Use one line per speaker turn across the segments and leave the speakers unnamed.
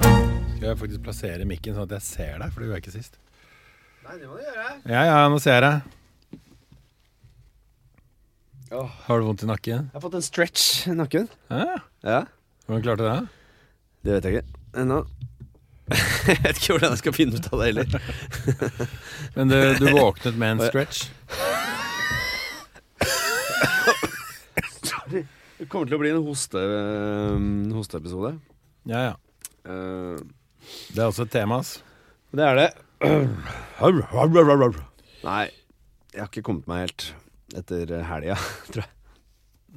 Skal jeg faktisk plassere mikken sånn at jeg ser deg, for det gjorde jeg ikke sist.
Nei, det må du gjøre.
Ja, ja, nå ser jeg deg.
Åh.
Har du vondt i nakken?
Jeg har fått en stretch i nakken.
Hæ?
Ja,
Hvordan klarte du det?
Det vet jeg ikke ennå. jeg vet ikke hvordan jeg skal finne ut av det heller.
Men du, du våknet med en stretch.
Det kommer til å bli en hoste, øh, hosteepisode.
Ja, ja.
Eh,
Det er også et tema, ass.
det er det. Nei, jeg har ikke kommet meg helt etter helga, tror jeg.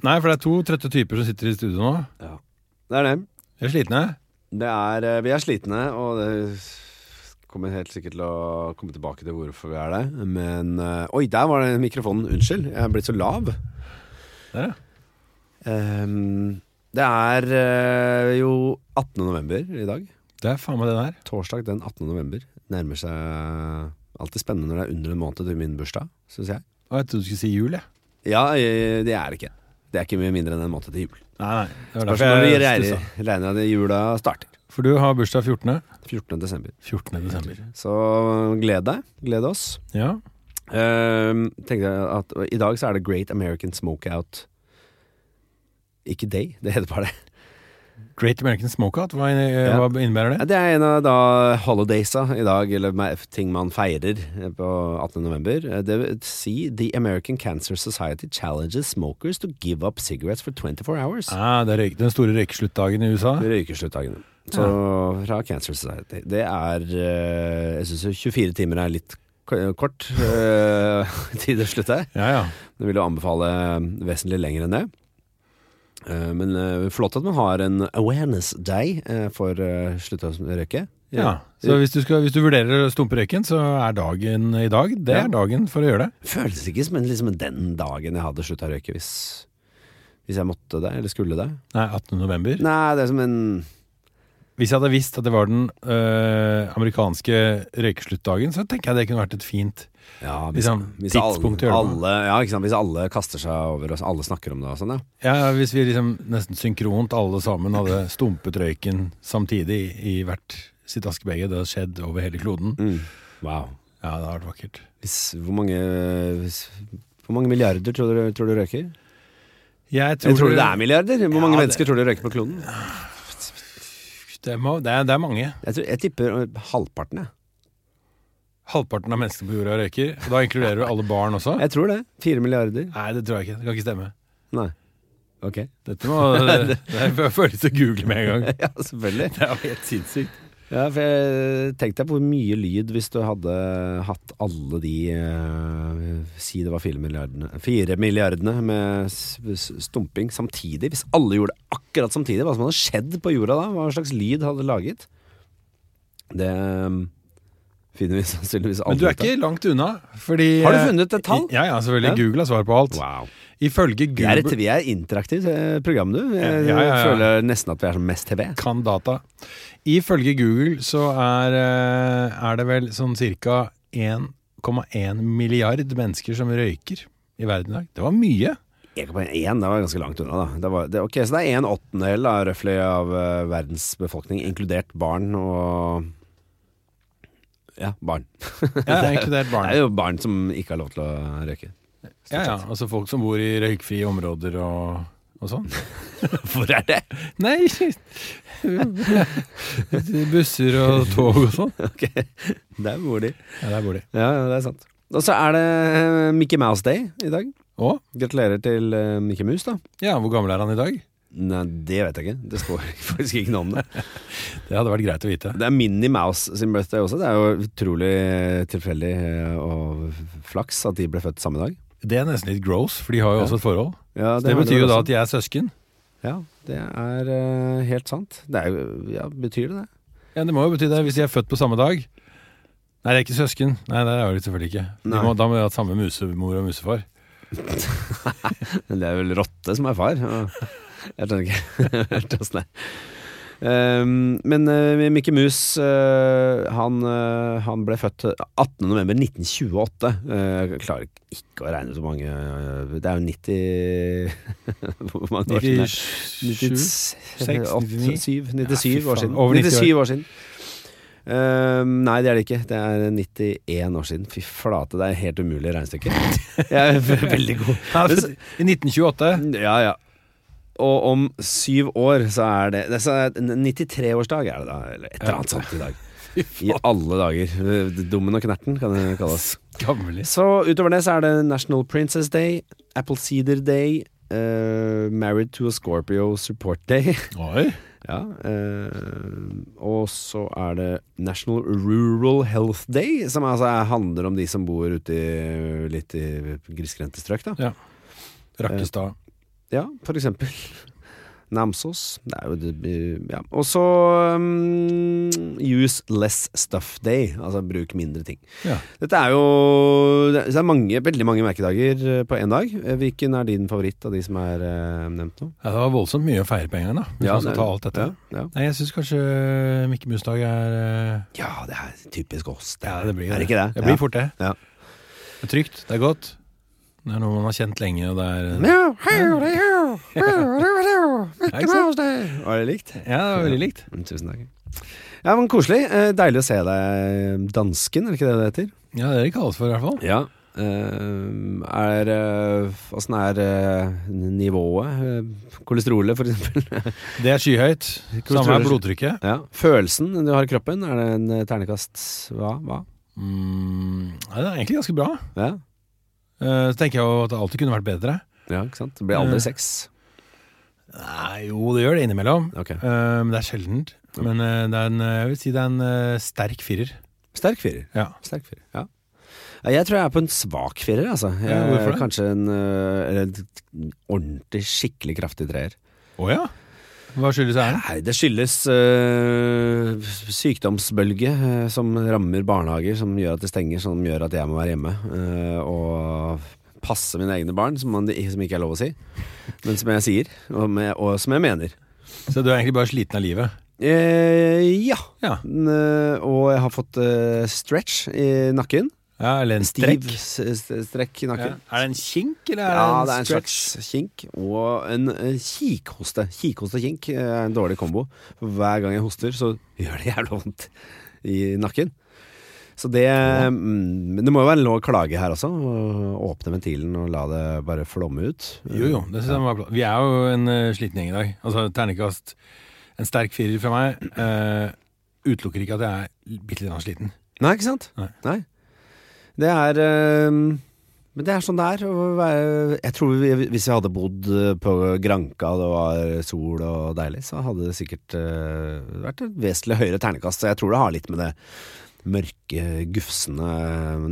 Nei, for det er to trøtte typer som sitter i studio nå.
Det er det.
De er slitne.
det er, eh, vi er slitne, og det kommer helt sikkert til å komme tilbake til hvorfor vi er det. Men eh, Oi, der var det mikrofonen. Unnskyld, jeg er blitt så lav.
Der, ja.
Ehm, det er eh, jo 18. november i dag.
Det er faen meg det der.
Torsdag den 18. november nærmer seg eh, alltid spennende når det er under en måned til min bursdag, syns jeg.
Å, jeg trodde du skulle si jul, jeg.
Ja, eh, det er det ikke. Det er ikke mye mindre enn en måned til jul.
Nei, nei. Det var
Derfor når
derfor
vi
jeg
regner,
stussa.
regner at jula starter.
For du har bursdag 14.
14. desember.
14. desember.
Så gled deg. Gled oss.
Ja.
Ehm, tenkte jeg at I dag så er det Great American Smokeout. Ikke Day, det heter bare det.
Great American Smokeout, hva inne- hva
Ja.
innebærer
Ja,
det?
Det er en av da holidaysa i dag, eller med ting man feirer eh, på 18. november. Eh, Det vil si The American Cancer Society challenges smokers to give up cigarettes for 24 hours.
Ah, det er røyk, den store røykesluttdagen i USA.
Ved røykesluttdagene. Så
Ah.
fra Cancer Society. Det er eh, Jeg syns 24 timer er litt k- kort eh, tid å slutte.
Ja, ja.
Jeg vil jo anbefale vesentlig lenger enn det. Eh, Men eh, flott at man har en awareness day eh, for eh, slutte å røyke.
Ja, så hvis du, skal, hvis du vurderer å stumpe røyken, så er dagen i dag Det
Ja.
er dagen for å gjøre det.
Føles ikke som en- liksom den dagen jeg hadde slutta å røyke, hvis, hvis jeg måtte det, eller skulle det.
Nei, 18. november.
Nei, det er som en
Hvis jeg hadde visst at det var den øh, amerikanske røykesluttdagen, så tenker jeg det kunne vært et fint
ja,
liksom, tidspunkt å gjøre
alle,
det på.
alle, ja, ikke sant? hvis alle kaster seg over oss, alle snakker om det og sånn, ja.
Ja, hvis vi liksom nesten synkront alle sammen hadde stumpet røyken samtidig i hvert sitt askebeger, det hadde skjedd over hele kloden.
Wow.
Ja, det hadde vært vakkert.
Hvis, hvor, mange, hvis, hvor mange milliarder tror du, tror du røyker?
Jeg
Eller tror du det er milliarder? Hvor
Ja,
mange
det-
mennesker tror du røyker på kloden?
det, må, det, er, det er mange.
Jeg, tror, jeg tipper eh, halvparten, jeg.
Halvparten av menneskene på jorda røyker. Og da inkluderer du alle barn også?
Jeg tror det. Fire milliarder.
Nei, det tror jeg ikke. Det kan ikke stemme.
Nei. Ok.
Dette må Det jeg får lyst til å google med en gang.
Ja, selvfølgelig.
Det er jo helt sinnssykt.
Ja, for jeg tenkte på hvor mye lyd hvis du hadde hatt alle de eh, Si det var fire milliardene, fire milliardene med s- s- stumping samtidig. Hvis alle gjorde det akkurat samtidig, hva som hadde skjedd på jorda da? Hva slags lyd hadde det laget? Det eh, finner vi sannsynligvis aldri
Men du er
ut av.
ikke langt unna, fordi eh,
Har du funnet et tall?
Ja, ja, selvfølgelig.
Ja.
Google har svar på alt.
Wow.
Ifølge
Vi er et
Google
vi er et interaktivt eh, program, du. Jeg
Ja, ja, ja.
føler nesten at vi er som Mest TV.
kan data. Ifølge Google så er, eh, er det vel sånn ca. 1,1 milliard mennesker som røyker i verden i dag. Det var mye.
1,1, det var ganske langt unna, da. Det var, det, ok, Så det er en åttendedel da, røftlig av eh, verdens befolkning, inkludert barn og Ja, barn.
Ja, inkludert
Det
barn.
er jo barn som ikke har lov til å røyke.
Ja, ja. Altså folk som bor i røykfrie områder og, og sånn.
Hvor er det?
Nei Busser og tog og sånn.
Ok, Der bor de.
Ja, der bor de.
Ja, ja, det er sant. Og så er det eh, Mickey Mouse Day i dag.
Å?
Gratulerer til eh, Mickey Mouse, da.
Ja, hvor gammel er han i dag?
Nei, det vet jeg ikke. Det står faktisk ikke noe om det.
Det hadde vært greit å vite.
Det er Minnie Mouse sin birthday også. Det er jo utrolig eh, tilfeldig eh, og flaks at de ble født samme dag.
Det er nesten litt gross, for de har jo også et forhold.
Ja,
Så det,
har de
betyr
vel
jo da
også.
at de er søsken.
Ja, det er eh, helt sant. Det er jo Ja, betyr det det?
Ja, Det må jo bety det, hvis de er født på samme dag. Nei, det er ikke søsken. Nei, det er de selvfølgelig ikke. De
Nei.
må, da må de ha hatt samme musemor og musefar.
Men Det er vel rotte som er far. Ja. Jeg skjønner ikke helt åssen det er. Ehm, men eh, Mickey Mouse eh, han, eh, han ble født 18.11.1928. Uh, jeg klarer ikke å regne ut hvor mange eh, Det er jo 90 Hvor mange år siden? det er?
97?
96,
99?
97, 97
Ja, fy
år
faen.
siden.
Over 90
97 år siden. Ehm, nei, det er det ikke. Det er 91 år siden. Fy flate, det er helt umulig regnestykke. Jeg er ve- veldig god.
I 1928.
Ja, ja. Og om syv år så er det, det er så- 93-årsdag er det da, eller et eller annet sånt i dag. I alle dager. Eh, Dummen og knerten kan det kalles.
Gammelig.
Så utover det så er det National Princess Day, Apple Cedar Day, eh, Married to a Scorpio Support Day.
Oi.
Ja, eh, og så er det National Rural Health Day, som altså er- handler om de som bor ute i litt i grisgrendte strøk, da.
Rakkestad.
Ja, for eksempel. Namsos. Det er jo det, ja. Og så mm, Use Less Stuff Day, altså bruk mindre ting.
Ja.
Dette er jo Det er mange, veldig mange merkedager eh, på én dag. Eh, Hvilken er din favoritt av de som er eh, nevnt nå?
Ja, det var voldsomt mye å feire på en gang, da. Hvis
Ja,
man skal
det-
ta alt dette.
Ja, ja.
Nei, jeg syns kanskje Mikke Mus-dag er eh,
ja, det er typisk oss.
Ja, det blir
Er det ikke det?
Det blir fort det.
Ja.
Det er trygt, det er godt. Det er noe man har kjent lenge, og det er
Meow, heo, heo, heo, heo, heo.
Ja,
Mickey
ikke sant?
Mouse Day. Var det likt? Mm,
Ja, det var veldig likt.
Tusen takk. Ja, men Koselig. Eh, Deilig å se deg. eh, Dansken, er det ikke det det heter?
Ja, det er det det kalles for, i hvert fall.
Ja. er eh, Åssen er eh, nivået? Eh, Kolesterolet, for eksempel.
Det er skyhøyt.
tror
Samme
du-
er blodtrykket.
ja. Følelsen du har i kroppen, er det en eh, ternekast hva? hva?
Mm, ja, det er egentlig ganske bra.
Ja.
Eh, Så tenker jeg jo at det alltid kunne vært bedre.
ja, ikke sant? Det blir aldri sex.
Nei, jo, det gjør det innimellom.
Ok.
Eh, Men det er sjeldent. Men eh, det er en, eh, jeg vil si det er en eh, sterk firer.
Sterk firer.
Ja.
Sterk firer, ja. Ja, Jeg tror jeg er på en svak firer, altså. Jeg,
Ja, hvorfor det?
Kanskje en, eh, eller en ordentlig, skikkelig kraftig treer.
Å ja? Hva skyldes æren?
Nei, det skyldes øh, sykdomsbølge øh, som rammer barnehager, som gjør at det stenger, som gjør at jeg må være hjemme øh, og passe mine egne barn, som, man, som ikke er lov å si, men som jeg sier, og, med, og som jeg mener.
Så du er egentlig bare sliten av livet?
Eh, ja.
Ja.
N- øh, og jeg har fått øh, stretch i nakken.
ja eller en
Stiv
strekk?
s- s- strekk i
Ja.
nakken.
Er det en kink, eller er
Ja, det
det
er
en
en
stretch?
slags kink og en eh, kikhoste. Kikhoste og kink eh, er en dårlig kombo. For Hver gang jeg hoster, så gjør det jævla vondt i nakken. Så det mm, Men det må jo være lov å klage her også. og Åpne ventilen og la det bare flomme ut.
Jo, jo. Det synes jeg var bra. Vi er jo en eh, sliten gjeng i dag. Altså ternekast En sterk firer fra meg. eh, utelukker ikke at jeg er bitte litt grann sliten.
Nei, ikke sant?
Nei.
Det er eh, Men det er sånn det er. å være- Jeg tror vi, hvis vi hadde bodd eh, på Granka og det var sol og deilig, så hadde det sikkert eh, vært et vesentlig høyere ternekast. Så jeg tror det har litt med det mørke, gufsende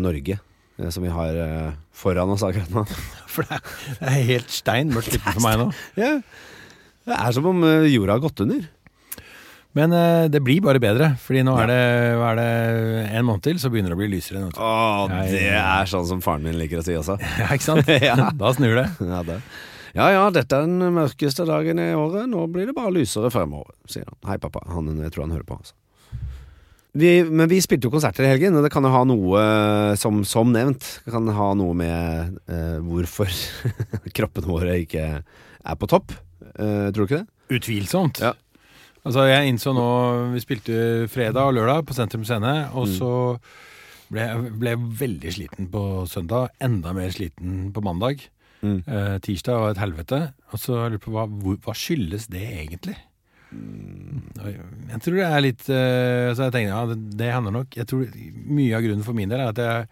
Norge eh, som vi har eh, foran oss akkurat nå.
For det er, det er helt stein mørkt sliten for meg nå.
Ja. Det er som om eh, jorda har gått under.
Men eh, det blir bare bedre, Fordi nå er det, hva er det en måned til, så begynner det å bli lysere. nå.
Å,
det er
sånn som faren min liker å si også.
Ja, ikke sant?
Ja.
Da snur det.
Ja, det. ja ja, dette er den mørkeste dagen i året, nå blir det bare lysere fremover, sier han. Hei, pappa. Han, jeg tror han hører på. Altså. Vi, men vi spilte jo konserter i helgen, og det kan jo ha noe, eh, som, som nevnt, kan ha noe med eh, hvorfor kroppene våre ikke er på topp. Eh, tror du ikke det?
Utvilsomt.
Ja.
Altså, jeg innså nå Vi spilte fredag og lørdag på Sentrum Scene, og
Mm.
så ble jeg ble jeg veldig sliten på søndag. Enda mer sliten på mandag.
Mm.
Eh, tirsdag var et helvete. Og så lurer jeg på hva, hvor- hva skyldes det egentlig?
Mm.
Og Jeg jeg tror det er litt eh, Så jeg tenker, ja, det, det hender nok. Jeg tror Mye av grunnen for min del er at jeg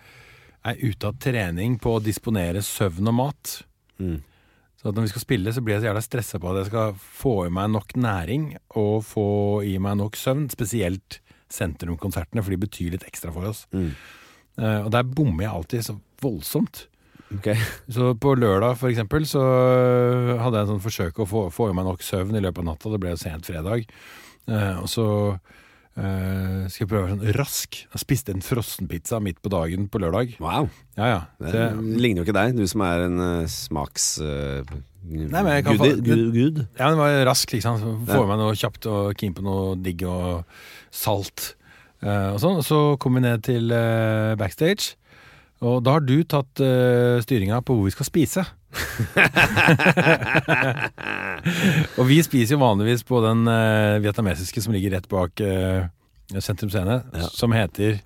er ute av trening på å disponere søvn og mat.
Mm.
Så at når vi skal spille, så blir jeg så jævla stressa på at jeg skal få i meg nok næring og få i meg nok søvn. Spesielt sentrumkonsertene, for de betyr litt ekstra for oss.
Mm.
Eh, og der bommer jeg alltid så voldsomt.
Ok.
Så på lørdag for eksempel så hadde jeg en sånn forsøk å få, få i meg nok søvn i løpet av natta. Det ble jo sent fredag. Eh, og så eh, skal jeg prøve å være sånn rask. Jeg spiste en frossenpizza midt på dagen på lørdag.
Wow.
Ja, ja.
Det,
Så jeg-
ligner jo ikke deg, du som er en eh, smaks... eh,
men jeg kan
gudi-
fa-
gud, gud.
Ja, men det var rask, liksom. Så Få
Ja.
i meg noe kjapt og keen på noe digg og salt. eh, og sånn. Og så kom vi ned til eh, backstage, og da har du tatt uh, styringa på hvor vi skal spise. og vi spiser jo vanligvis på den eh, vietnamesiske som ligger rett bak eh, Sentrum Scene,
Ja.
som heter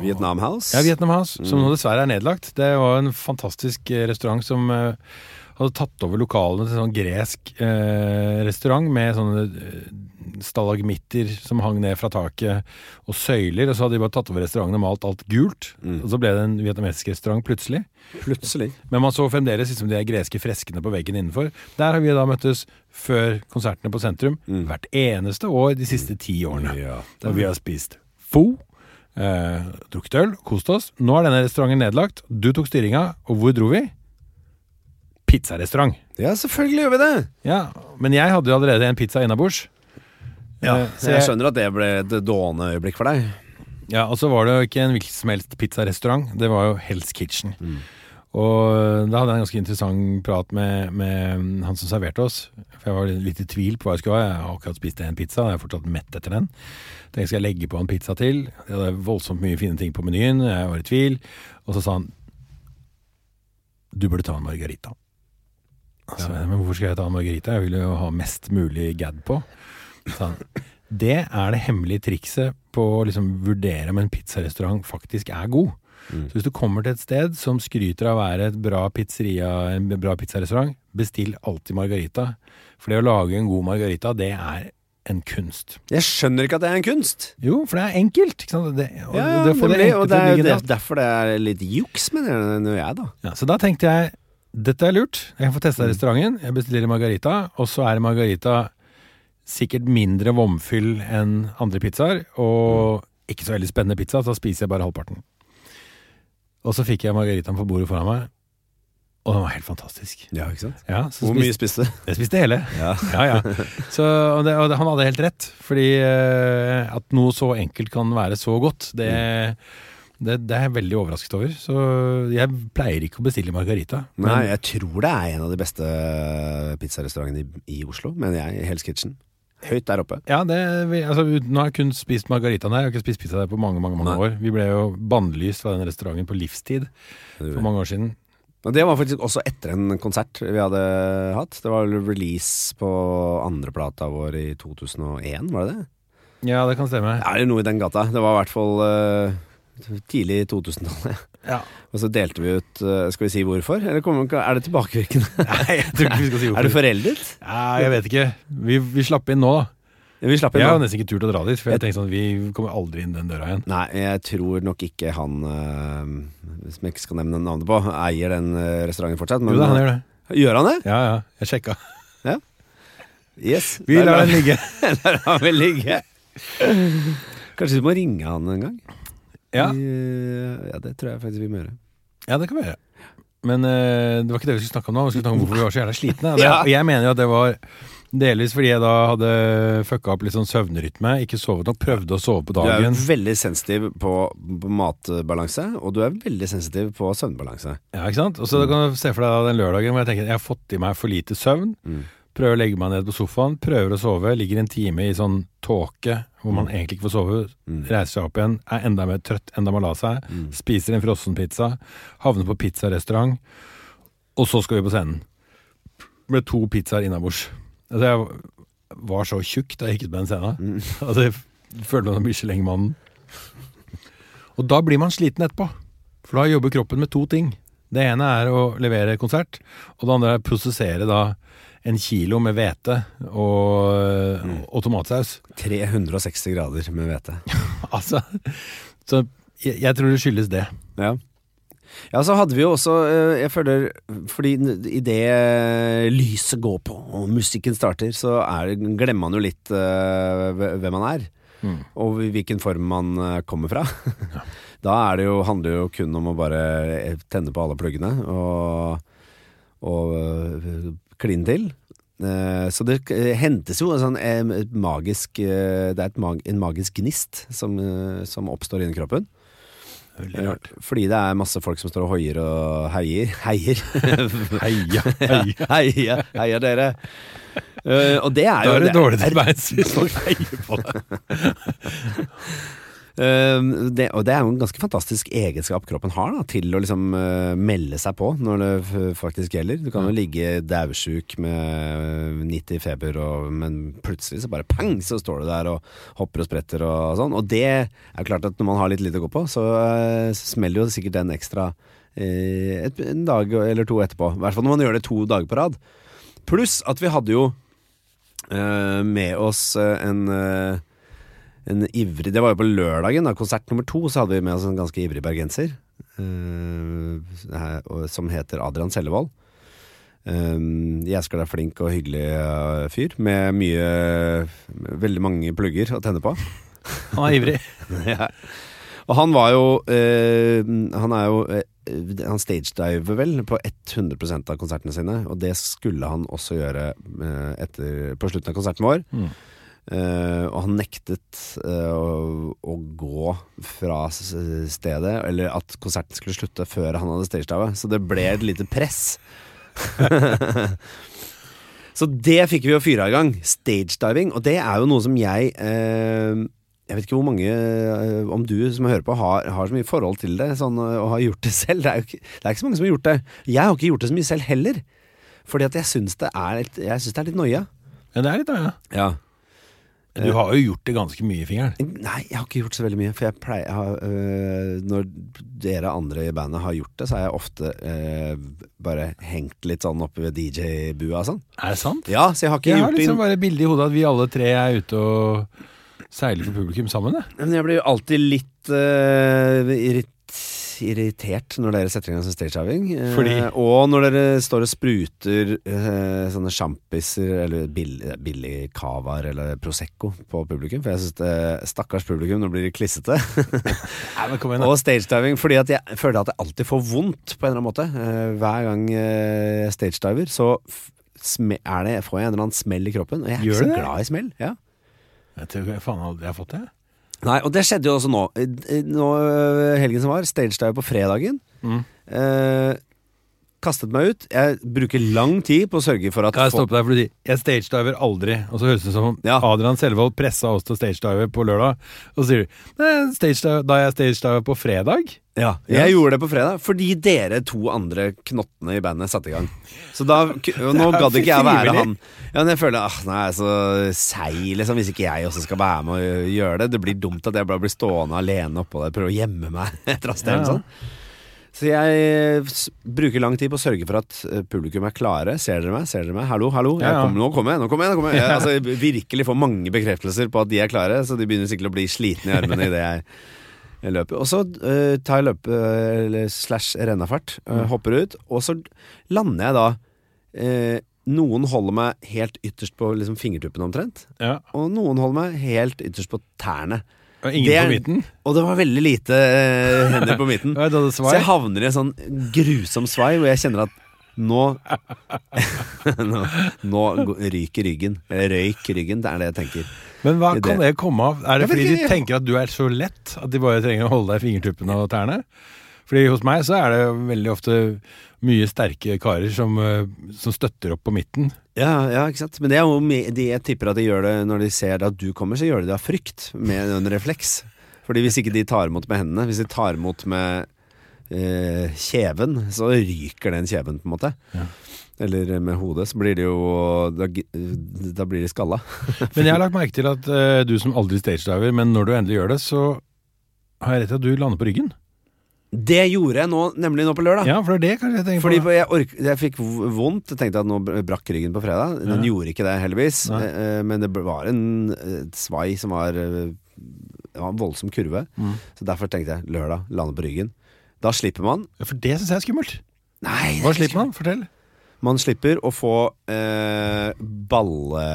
Vietnam House.
ja, Vietnam House, som
Mm.
nå dessverre er nedlagt. Det var en fantastisk eh, restaurant som eh, hadde tatt over lokalene til en sånn gresk eh, restaurant med sånne eh, stalagmitter som hang ned fra taket, og søyler. Og så hadde de bare tatt over restauranten og malt alt gult.
Mm.
Og så ble det en vietnamesisk restaurant plutselig.
Plutselig.
Men man så fremdeles liksom de greske freskene på veggen innenfor. Der har vi da møttes før konsertene på Sentrum
Mm.
hvert eneste år de siste ti årene.
Ja.
Og vi har spist fo, eh, drukket øl, kost oss. Nå er denne restauranten nedlagt. Du tok styringa, og hvor dro vi? Pizzarestaurant.
ja, selvfølgelig gjør vi det!
Ja, men jeg hadde jo allerede en pizza innabords. Eh, så
jeg
jeg-
skjønner at det ble et dående øyeblikk for deg.
Ja, og så var det jo ikke en hvilken som helst pizzarestaurant, det var jo Hell's Kitchen. Og øh, da hadde jeg en ganske interessant prat med, med øh, han som serverte oss. For jeg var litt i tvil på hva jeg skulle ha. Jeg har akkurat spist en pizza, og jeg er fortsatt mett etter den. Tenkte skal jeg legge på en pizza til. Jeg hadde voldsomt mye fine ting på menyen, jeg var i tvil. Og så sa han Du burde ta en margarita. Altså, Men hvorfor skal jeg ta en margarita? Jeg vil jo ha mest mulig gad på. Så sa han det er det hemmelige trikset på å liksom vurdere om en pizzarestaurant faktisk er god.
Mm.
Så hvis du kommer til et sted som skryter av å være et bra pizzeria, en bra pizzarestaurant, bestill alltid margarita. For det å lage en god margarita, det er en kunst.
Jeg skjønner ikke at det er en kunst.
Jo, for det er enkelt. Ikke sant? Det, og,
Ja,
det får det
nemlig, og
enkle
det
til å
er jo
ligge
det,
der.
derfor det er litt juks, mener jeg, når jeg, da.
Ja, så da tenkte jeg dette er lurt. Jeg kan få
Mm.
testa restauranten. Jeg bestiller margarita, og så er margarita sikkert mindre vomfyll enn andre pizzaer, og
Mm.
ikke så veldig spennende pizza, så da spiser jeg bare halvparten. Og så fikk jeg margaritaen på bordet foran meg, og den var helt fantastisk.
Ja, ikke sant?
Ja, så
Hvor
spiste,
mye spiste du?
jeg spiste hele.
Ja.
Ja, ja. Så, og, det, og det, han hadde helt rett, fordi eh, at noe så enkelt kan være så godt, det,
Mm.
det, det er jeg veldig overrasket over. Så jeg pleier ikke å bestille margarita. men-
Nei, jeg tror det er en av de beste eh, pizzarestaurantene i, i Oslo, mener jeg. Hell's Kitchen. Høyt der oppe.
Ja, det, vi, altså, ut- nå har jeg kun spist margaritaen her. Jeg har ikke spist pizza der på mange mange, mange
Nei.
år. Vi ble jo bannlyst fra den restauranten på livstid for
Mm.
mange år siden.
Og det var faktisk også etter en konsert vi hadde hatt. Det var vel release på andreplata vår i 2001, var det det?
Ja, det kan stemme.
Ja, eller noe i den gata. Det var i hvert fall eh, tidlig 2000-tallet.
Ja.
Og så delte vi ut eh, Skal vi si hvorfor? Eller kommer, er det tilbakevirkende?
Nei, jeg tror ikke vi skal si
er det
hvorfor.
foreldet?
Nei, jeg vet ikke. Vi, vi slapp inn nå, da.
Vi slapp
Jeg
inn
har
nå.
nesten ikke turt å dra dit, for jeg tenkte sånn, vi kommer aldri inn den døra igjen.
Nei, jeg tror nok ikke han eh, Som jeg ikke skal nevne navnet på, eier den eh, restauranten fortsatt. eh,
Jo da, han gjør det.
Gjør han det?
Ja, ja. Jeg sjekka.
Yes.
Vi
Der
lar
han-
den ligge.
Der lar vi ligge. Kanskje du må ringe han en gang?
Ja,
Vi- eh, ja, det tror jeg faktisk vi må gjøre.
ja det kan vi gjøre. Men eh, det var ikke det vi skulle snakke om nå. Vi skulle snakke om hvorfor vi var så jævla slitne. Og, det,
Ja.
og jeg mener jo at det var delvis fordi jeg da hadde fucka opp litt sånn søvnrytme. Ikke sovet nok. Prøvde å sove på
Du er
dagen.
veldig sensitiv på, på matbalanse, og du er veldig sensitiv på søvnbalanse.
Ja, ikke sant? Og så kan du se for deg da den lørdagen hvor jeg tenker jeg har fått i meg for lite søvn.
Mm.
Prøver å legge meg ned på sofaen, prøver å sove. Ligger en time i sånn tåke hvor man egentlig ikke får sove.
Mm.
Reiser seg opp igjen, er enda mer trøtt, enda mer la seg. Spiser en frossenpizza. Havner på pizzarestaurant. Og så skal vi på scenen. Ble to pizzaer innabords. Altså, jeg var så tjukk da jeg gikk ut på den scenen.
Mm.
Altså, jeg følte meg som Michelin-mannen. Og da blir man sliten etterpå. For da jobber kroppen med to ting. Det ene er å levere konsert, og det andre er å prosessere da en kilo med hvete og, og tomatsaus.
360 grader med hvete.
Altså, så jeg, jeg tror det skyldes det.
Ja. ja, så hadde vi jo også eh, Jeg føler Fordi idet lyset går på og musikken starter, så er, det- glemmer man jo litt eh, hvem man er. Og hvilken form man eh, kommer fra. Da er det jo, handler det jo kun om å bare eh, tenne på alle pluggene og, og eh, kline til. Eh, Så det eh, hentes jo en sånn eh, et magisk eh, Det er et mag, en magisk gnist som, eh, som oppstår inni kroppen.
Veldig rart.
Eh, Fordi det er masse folk som står og hoier og heier. Heier.
Heia, heia.
heia, heia dere. Eh, og det
Da
er jo
er det
det-
dårlig til beins hvis folk heier på deg.
Eh, det, og det er jo en ganske fantastisk egenskap kroppen har da, til å liksom eh, melde seg på når det f- faktisk gjelder. Du kan jo ligge daudsjuk med 90 feber, og, men plutselig så bare pang, så står du der og hopper og spretter og sånn. Og det er klart at når man har litt lite å gå på, så eh, smeller jo sikkert den ekstra eh, et, en dag eller to etterpå. I hvert fall når man gjør det to dager på rad. Pluss at vi hadde jo eh, med oss eh, en eh, en ivrig Det var jo på lørdagen, da konsert nummer to, så hadde vi med oss en ganske ivrig bergenser. eh, her- og- som heter Adrian Sellevold. Um, jeg skal være flink og hyggelig eh, fyr, med mye Veldig mange plugger å tenne på.
Han er ivrig.
ja. Og han var jo eh, Han er jo eh, Han stagediver vel på 100 av konsertene sine, og det skulle han også gjøre eh, etter, på slutten av konserten vår.
Mm.
Eh, og han nektet eh, å, å gå fra s- stedet, eller at konserten skulle slutte før han hadde stagediva. Så det ble et lite press. så det fikk vi jo fyra i gang. Stagediving. Og det er jo noe som jeg eh, Jeg vet ikke hvor mange, eh, om du som hører på, har, har så mye forhold til det sånn, eh, og har gjort det selv. Det er jo ikke, det er ikke så mange som har gjort det. Jeg har ikke gjort det så mye selv heller. Fordi at jeg syns det er litt, jeg synes det er litt noia.
Ja, det er litt, da, ja.
Ja.
Du har jo gjort det ganske mye i fingeren.
Nei, jeg har ikke gjort så veldig mye. For jeg pleier jeg har, øh, Når dere andre i bandet har gjort det, så har jeg ofte øh, bare hengt litt sånn oppe ved DJ-bua og sånn.
Er det sant?
Ja, så jeg har ikke
Jeg har
gjort det
liksom bare et bilde i hodet at vi alle tre er ute og seiler for publikum sammen. jeg.
Men jeg blir jo alltid litt øh, irrit irritert når dere setter i gang som stagediving. eh,
Fordi?
Og når dere står og spruter eh, sånne sjampiser eller bill billig cavaer eller Prosecco på publikum. For jeg syns det Stakkars publikum, nå blir de klissete.
Nei, men kom igjen, da.
Og stagediving, fordi at jeg føler at jeg alltid får vondt på en eller annen måte. Eh, Hver gang eh, jeg stagediver, så f- sme- er det, får jeg en eller annen smell i kroppen. Og jeg er
Gjør
ikke så
du det?
glad i smell. Ja.
Jeg tror jeg faen aldri jeg har fått det.
Nei, og det skjedde jo også nå. Eh, d- eh, nå eh, helgen som var, stagedive på fredagen.
Mm.
Eh, kastet meg ut. Jeg bruker lang tid på å sørge for at
Kan jeg
folk-
stoppe deg fordi jeg stagediver aldri, og så høres det ut som om
Ja.
Adrian Selvold pressa oss til å stagedive på lørdag, og så sier du "Nei, stagedive- da jeg stagediver på fredag?
Ja,
Yes.
jeg gjorde det på fredag fordi dere to andre knottene i bandet satte i gang. Så da k- og Nå
Det er
gadd ikke jeg være
frivillig.
han. Ja, men jeg føler ah, nei, så seig, liksom, hvis ikke jeg også skal være med og gjøre det. Det blir dumt at jeg bare blir stående alene oppå der og prøve å gjemme meg etter å ha stemt
Ja.
sånn. Så jeg eh, s- bruker lang tid på å sørge for at eh, publikum er klare. Ser dere meg? Ser dere meg? Hallo, hallo. Jeg
Ja, ja.
kommer, nå kommer jeg, nå kommer jeg. Nå kommer jeg. jeg altså, jeg virkelig får mange bekreftelser på at de er klare, så de begynner sikkert å bli slitne i armene idet jeg jeg løper. Og så eh, tar jeg løpe... eh, eller slash rennafart. eh,
Mm.
Hopper ut. Og så lander jeg da eh, Noen holder meg helt ytterst på liksom, fingertuppene omtrent.
Ja.
Og noen holder meg helt ytterst på tærne.
Og ingen
Det er-
på midten?
Og det var veldig lite eh, hender på midten.
Ja, det hadde
Så
svar.
jeg havner i en sånn grusom svai hvor jeg kjenner at nå Nå, nå ryker ryggen. Eller Røyk ryggen, det er det jeg tenker.
Men hva
Det-
kan det komme av? Er det
Jeg vet
fordi
ikke,
de
jeg-
tenker at du er så lett at de bare trenger å holde deg i fingertuppene og tærne? Fordi hos meg så er det veldig ofte mye sterke karer som, eh, som støtter opp på midten.
Ja, ja, ikke sant Men det er jo me- de, jeg tipper at de gjør det når de ser at du kommer, så gjør de det av frykt, med en refleks. Fordi hvis ikke de tar imot med hendene, hvis de tar imot med eh, kjeven, så ryker den kjeven, på en måte.
Ja.
Eller eh, med hodet, så blir det jo Da, gi- da blir de skalla.
Men jeg har lagt merke til at eh, du som aldri stagediver, men når du endelig gjør det, så har jeg rett i at du lander på ryggen.
Det gjorde jeg nå, nemlig nå på lørdag.
Ja, for det er det kanskje jeg tenker
Fordi
på.
jeg, ork, jeg fikk v- vondt Jeg tenkte at nå br- brakk ryggen på fredag Den
Ja.
gjorde ikke det heldigvis
Nei.
eh, eh, Men det ble- var en eh, svai som var eh, Det var en voldsom kurve
Mm.
Så derfor tenkte jeg lørdag, lande på ryggen Da slipper man
Ja, For det syns jeg er skummelt.
Nei,
Hva slipper man? Fortell.
Man slipper å få eh,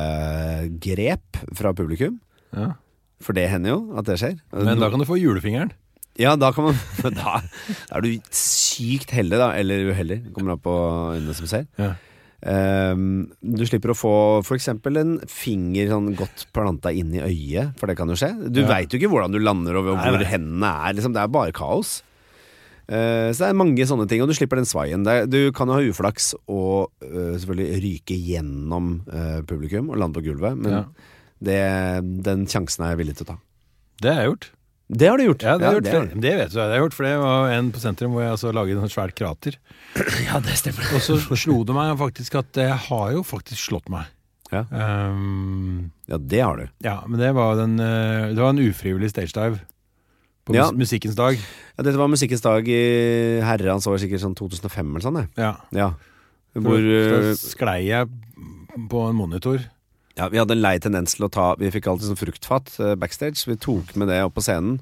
ballegrep fra publikum
Ja.
For det hender jo at det skjer
Men da kan du få julefingeren.
Ja, da kan man Da, da er du sykt heldig da Eller uheldig, kommer an på øynene som ser
Ja.
Ehm, du slipper å få for eksempel en finger sånn godt planta inn i øyet, for det kan jo skje. Du
Ja.
vet veit jo ikke hvordan du lander og hvor
Nei, nei.
hendene er, liksom. Det er bare kaos. Eh, så det er mange sånne ting, og du slipper den svaien. Det er- Du kan jo ha uflaks og eh, selvfølgelig ryke gjennom eh, publikum og lande på gulvet, men
Ja.
det, den sjansen er jeg villig til å ta.
Det har jeg gjort.
Det har du gjort.
Ja, det, har jeg
det
gjort
har
før. det vet du, det har jeg gjort, for det var en på sentrum hvor jeg altså laget en svært krater.
du. Ja, det stemmer.
Og så slo det meg faktisk at jeg har jo faktisk slått meg.
Ja.
Ehm,
Ja, det har du.
ja, men det var, den, eh, det var en ufrivillig stage dive på mus
Ja.
musikkens dag.
Ja, dette var Musikkens dag i herrens år, sikkert sånn 2005 eller sånn. det.
Ja.
Ja. Hvor
så
øh,
sklei jeg på en monitor.
ja, Vi hadde en lei tendens til å ta Vi fikk alltid sånn fruktfat eh, backstage. Vi tok med det opp på scenen.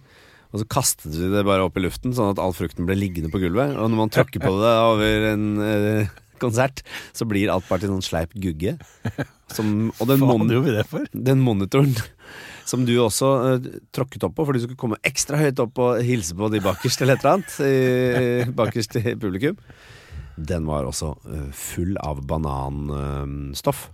Og så kastet vi det bare opp i luften, sånn at all frukten ble liggende på gulvet. Og når man tråkker på det over en eh, konsert, så blir alt bare til sånn sleip gugge. Som, og den, mon
gjorde vi det for?
den monitoren som du også eh, tråkket opp på fordi du skulle komme ekstra høyt opp og hilse på de bakerst eller et eller annet, i- i- bakerst i publikum, den var også eh, full av bananstoff.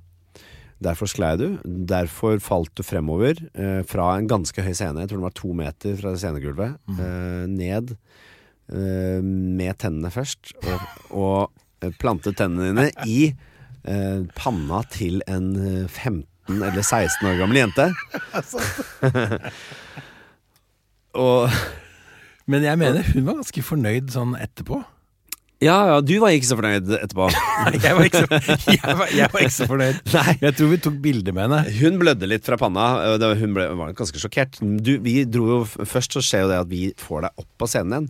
Derfor sklei du, derfor falt du fremover eh, fra en ganske høy scene, jeg tror den var to meter fra scenegulvet, eh, ned eh, med tennene først, og, og eh, plantet tennene dine i eh, panna til en eh, 15 eller 16 år gammel jente. og
Men jeg mener hun var ganske fornøyd sånn etterpå.
Ja, ja, du var ikke så fornøyd etterpå.
Jeg var ikke så, jeg var, jeg var ikke så fornøyd.
Nei.
Jeg tror vi tok bilde med henne.
Hun blødde litt fra panna. eh, det- Hun ble, var ganske sjokkert. Du, vi dro jo, f- først så skjer jo det at vi får deg opp på scenen igjen.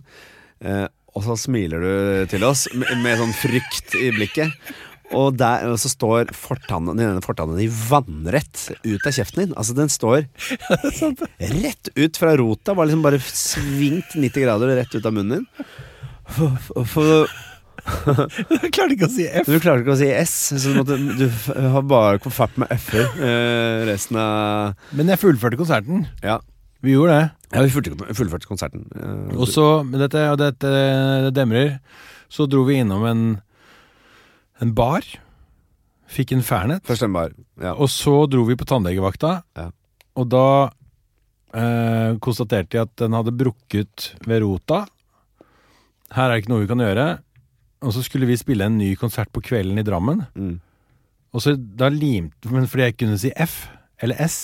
Eh, og så smiler du til oss med, med sånn frykt i blikket. Og der og så står fortannen, den ene fortannen din vannrett ut av kjeften din. Altså Den står rett ut fra rota, bare liksom bare svingt 90 grader rett ut av munnen din. For, for,
Jeg klarte ikke å si F.
Du klarte ikke å si S, så du, måtte, du f- har bare kontakt med F-er eh, resten av
Men jeg fullførte konserten.
Ja.
Vi gjorde det.
Ja, vi fullførte, fullførte konserten. Eh,
Og så, men dette, og dette det demrer, så dro vi innom en, en bar, fikk en fernet,
Først en bar. Ja.
og så dro vi på tannlegevakta,
Ja.
og da eh, konstaterte jeg at den hadde brukket ved rota. Her er det ikke noe vi kan gjøre. Og så skulle vi spille en ny konsert på kvelden i Drammen,
Mm.
og så da limte, men fordi jeg ikke kunne si F, eller S,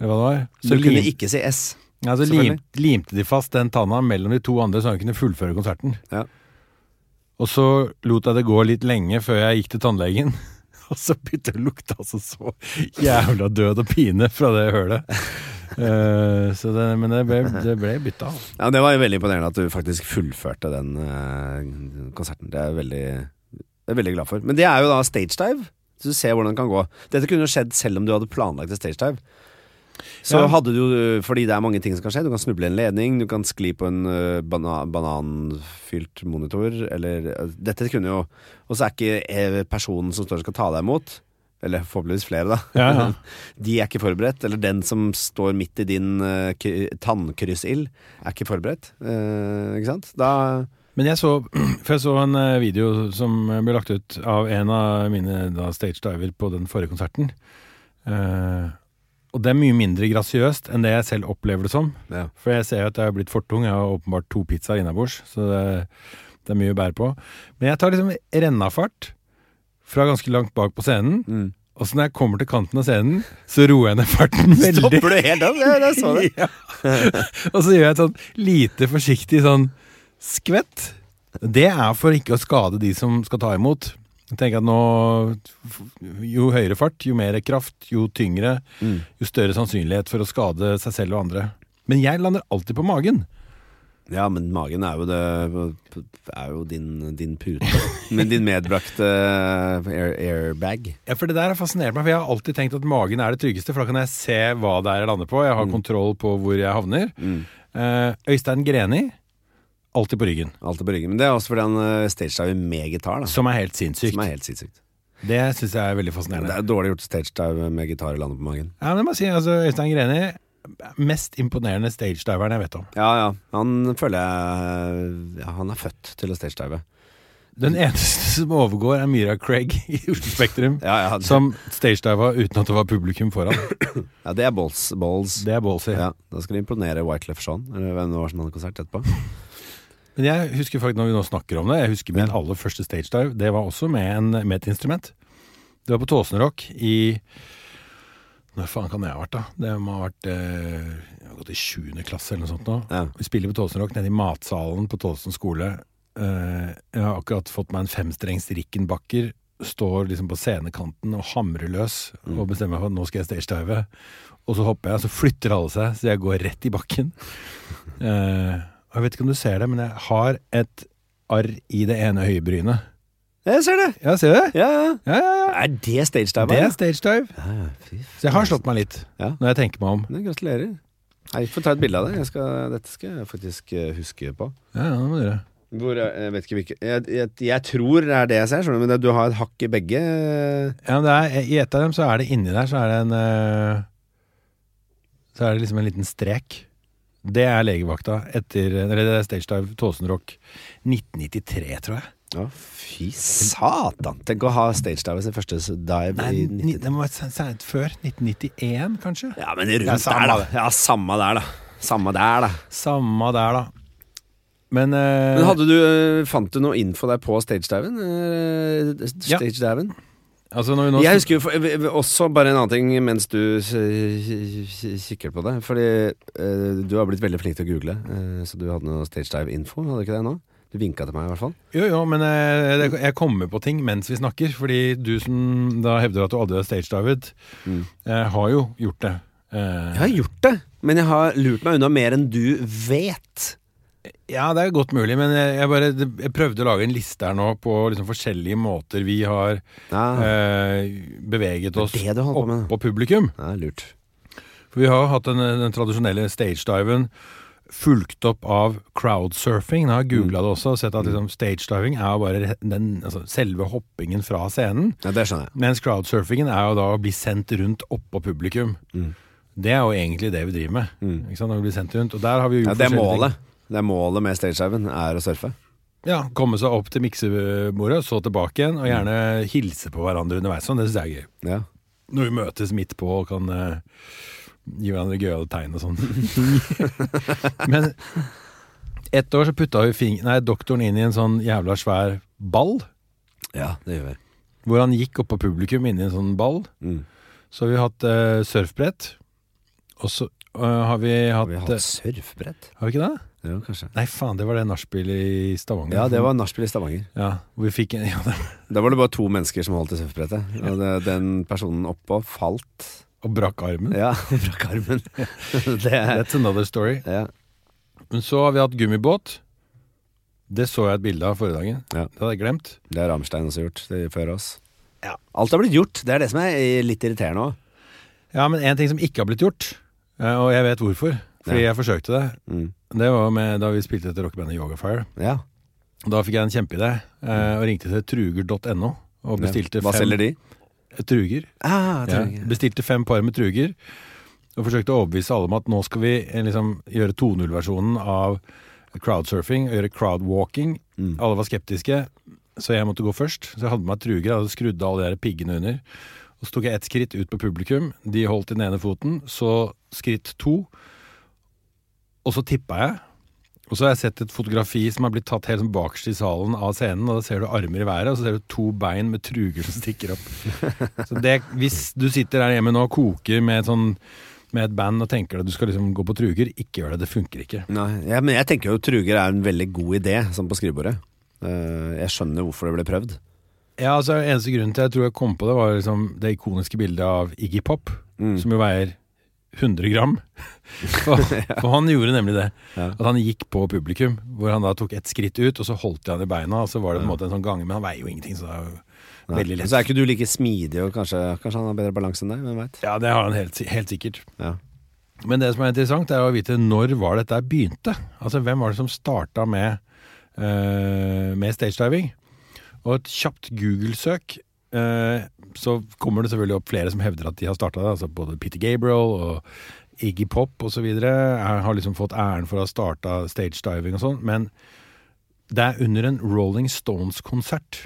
eller hva det var,
Så du
lim-
kunne ikke si S.
ja, så
Selvfølgelig.
Altså, lim, limte de fast den tanna mellom de to andre, så han kunne fullføre konserten.
Ja.
Og så lot jeg det gå litt lenge før jeg gikk til tannlegen. Og så begynte det å lukte altså så jævla død og pine fra det hølet. Eh, så det, men det ble, det ble bytta. altså.
Ja, Det var jo veldig imponerende at du faktisk fullførte den eh, konserten. Det er jeg veldig, jeg er veldig glad for. Men det er jo da stage dive. Så du ser hvordan det kan gå. Dette kunne jo skjedd selv om du hadde planlagt et stage dive. Så
Ja.
hadde du jo- Fordi det er mange ting som kan skje. Du kan snuble i en ledning, du kan skli på en eh, bana bananfylt monitor, eller eh, Dette kunne jo Og så er ikke eh, personen som står og skal ta deg imot, eller forhåpentligvis flere, da.
Ja, ja.
De er ikke forberedt, eller den som står midt i din eh, k- tannkryssild, er ikke forberedt. Eh, ikke sant? Da
Men jeg så, for jeg så en eh, video som ble lagt ut av en av mine da, stage diver på den forrige konserten. Eh, og det er mye mindre grasiøst enn det jeg selv opplever det som.
ja.
For jeg ser jo at jeg har blitt for tung. Jeg har åpenbart to pizzaer innabords, så det, det er mye å bære på. Men jeg tar liksom rennafart fra ganske langt bak på scenen.
Mm.
Og så når jeg kommer til kanten av scenen, så roer jeg ned farten veldig.
Stopper du helt opp? Ja, jeg så det.
Ja. og så gjør jeg et sånn lite forsiktig sånn skvett. Det er for ikke å skade de som skal ta imot. Jeg tenker at nå Jo høyere fart, jo mer kraft, jo tyngre
Mm.
jo større sannsynlighet for å skade seg selv og andre. Men jeg lander alltid på magen.
Ja, men magen er jo, det, er jo din, din pute. Men din medbrakte air, airbag.
Ja, for Det der har fascinert meg, for jeg har alltid tenkt at magen er det tryggeste. For da kan jeg se hva det er jeg lander på, jeg
Mm.
har kontroll på hvor jeg havner. Eh, Øystein Greni, alltid på ryggen.
Alt er på ryggen. Men det er også fordi han eh, stagediver med gitar, da.
Som er helt sinnssykt.
Som er helt sinnssykt.
Det syns jeg er veldig
Det
fascinerende.
er dårlig gjort stagedive med gitar og lande på magen.
Ja, men jeg må si, altså, Øystein Greni, mest imponerende stagediveren jeg vet om.
Ja, ja. Han føler jeg ja, Han er født til å stagedive.
Den
Mm.
eneste som overgår, er Myra Craig i Oslo Spektrum.
Ja, ja, det-
Som stagediva uten at det var publikum foran.
ja, det er balls. balls.
Det er ballsy.
Ja, Da skal de imponere Wyclef Jean, eller hvem det var som hadde konsert etterpå.
Men jeg husker faktisk når vi nå snakker om det Jeg husker min
Ja.
aller første stage dive Det var også med, en, med et instrument Det var på Tåsenrock i Når faen kan det ha vært, da? Det må ha vært eh, Jeg har gått i 7. klasse eller noe sånt nå.
Ja.
Vi spiller på Tolsen Rock nede i matsalen på Tolsen skole. Eh, jeg har akkurat fått meg en femstrengs Rickenbacker. Står liksom på scenekanten og hamrer løs og bestemmer meg for at nå skal jeg stagedive. Og så hopper jeg, og så flytter alle seg, så jeg går rett i bakken. Eh, og jeg vet ikke om du ser det, men jeg har et arr i det ene øyebrynet.
Jeg ser det!
Ja, ser du det?
Ja, ja.
Ja, ja, ja.
Er det stagediver?
Det er stagedive.
Ja, ja, fy faen.
Så jeg har slått meg litt,
Ja.
når jeg tenker meg om.
Men Gratulerer. Hei, Få ta et bilde av det. Jeg skal, dette skal jeg faktisk eh, huske på.
Ja, ja, det må du gjøre.
Hvor, jeg, jeg vet ikke hvilke jeg, jeg, jeg tror det er det jeg ser, skjønner du, men det, du har et hakk i begge.
Ja, men det er, I et av dem så er det inni der, så er det en eh, Så er det liksom en liten strek. Det er legevakta etter Eller det er Stage Dive Tåsenrock 1993, tror jeg.
Ja, fy satan! Tenk å ha stagediver sin første dive
Nei,
i
ni,
90
det må være se- se- før. 1991, kanskje?
Ja, men rundt
Ja, samme
der, da.
det.
Ja, samme der, da. Samme der, da.
Samme der, da. Men, eh,
Men hadde du, eh, Fant du noe info der på stagediven? Eh,
Ja.
Stagediven?
altså når vi nå
Jeg husker jo for- eh, v- v- også bare en annen ting mens du s- k- kikker på det. Fordi eh, du har blitt veldig flink til å google, eh, så du hadde noe stagedive-info? Hadde du ikke det nå? Du vinka til meg, i hvert fall.
Jo, jo, men eh, det- jeg kommer på ting mens vi snakker. Fordi du som da hevder at du aldri har stagedivet,
Mm.
eh, har jo gjort det. Eh,
Jeg har gjort det, men jeg har lurt meg unna mer enn du vet.
Ja, det er godt mulig, men jeg, jeg, bare, jeg prøvde å lage en liste her nå på liksom forskjellige måter vi har
Ja,
eh, beveget oss
Ah. det du holder på med.
oppå publikum.
ja lurt.
For vi har jo hatt den, den tradisjonelle stagediven fulgt opp av crowdsurfing. Jeg har googla det også og sett
Mm.
at liksom, stagediving er jo bare den, altså, selve hoppingen fra scenen.
Ja, det skjønner jeg.
Mens crowdsurfingen er jo da å bli sendt rundt oppå publikum.
Mm.
Det er jo egentlig det vi driver med.
Mm.
Ikke sant? Å bli sendt rundt. Og der har vi jo
Ja,
gjort
det er
forskjellige ting.
målet. Det er målet med stagediven, er å surfe.
Ja, komme seg opp til miksebordet, så tilbake igjen, og gjerne hilse på hverandre underveis. Sånn, det syns jeg er gøy.
Ja.
Når vi møtes midt på og kan eh, gi hverandre gøyale tegn og sånn. Men ett år så putta vi fing nei, doktoren inn i en sånn jævla svær ball,
ja, det gjør vi.
hvor han gikk oppå publikum inni en sånn ball.
Mm.
Så har vi hatt eh, surfbrett, og så eh, har vi
Har
hatt
vi
eh,
hatt surfbrett?
Har vi ikke det?
Jo, kanskje.
Nei, faen, det var det nachspielet i Stavanger.
Ja, det var nachspiel i Stavanger.
Ja, hvor vi fikk en ja, det,
Da var det bare to mennesker som holdt i surfebrettet. Og det, den personen oppå falt
Og brakk armen.
Ja, fra Carmen. det er
That's another story.
ja.
Men så har vi hatt gummibåt. Det så jeg et bilde av forrige dagen.
Ja.
Det hadde jeg glemt.
Det har Rammstein også gjort det, før oss.
Ja.
Alt har blitt gjort. Det er det som er eh, litt irriterende òg.
Ja, men en ting som ikke har blitt gjort, eh, og jeg vet hvorfor, fordi jeg forsøkte det,
Mm.
det var med, da vi spilte etter rockebandet Yogafire.
Ja.
Da fikk jeg en kjempeidé eh, og ringte til truger.no og bestilte
Hva
fem
selger de?
truger.
Ah,
Ja,
Trygg.
bestilte fem par med truger og forsøkte å overbevise alle om at nå skal vi eh, liksom, gjøre 2.0-versjonen av crowdsurfing og gjøre crowdwalking.
Mm.
Alle var skeptiske, så jeg måtte gå først. Så jeg hadde med meg truger og skrudde alle de der piggene under. Og så tok jeg ett skritt ut på publikum. De holdt i den ene foten. Så skritt to. Og så tippa jeg. Og så har jeg sett et fotografi som er blitt tatt helt sånn bakerst i salen av scenen. Og da ser du armer i været, og så ser du to bein med truger som stikker opp. Så det, hvis du sitter der hjemme nå og koker med et, sånn, med et band og tenker at du skal liksom gå på truger, ikke gjør det. Det funker ikke.
Nei, ja, men jeg tenker jo Truger er en veldig god idé, sånn på skrivebordet. Eh, jeg skjønner hvorfor det ble prøvd.
Ja, altså Eneste grunnen til jeg tror jeg kom på det, var liksom det ikoniske bildet av Iggy Pop,
Mm.
som jo veier 100 gram. For, for han gjorde nemlig det.
Ja.
At han gikk på publikum, hvor han da tok et skritt ut, og så holdt de han i beina, og så var det på en måte en sånn gange, men han veier jo ingenting, så det er jo
Nei.
veldig
Men
lett.
Så er ikke du like smidig, og kanskje, kanskje han har bedre balanse enn deg. Hvem veit.
Ja, det har han helt, si- helt sikkert.
Ja.
Men det som er interessant, er å vite når var dette her begynte. Altså, hvem var det som starta med, eh, med stagediving? Og et kjapt Google-søk, eh, så kommer det selvfølgelig opp flere som hevder at de har starta det. Altså både Peter Gabriel og Iggy Pop osv. har liksom fått æren for å ha starta stagediving og sånn. Men det er under en Rolling Stones-konsert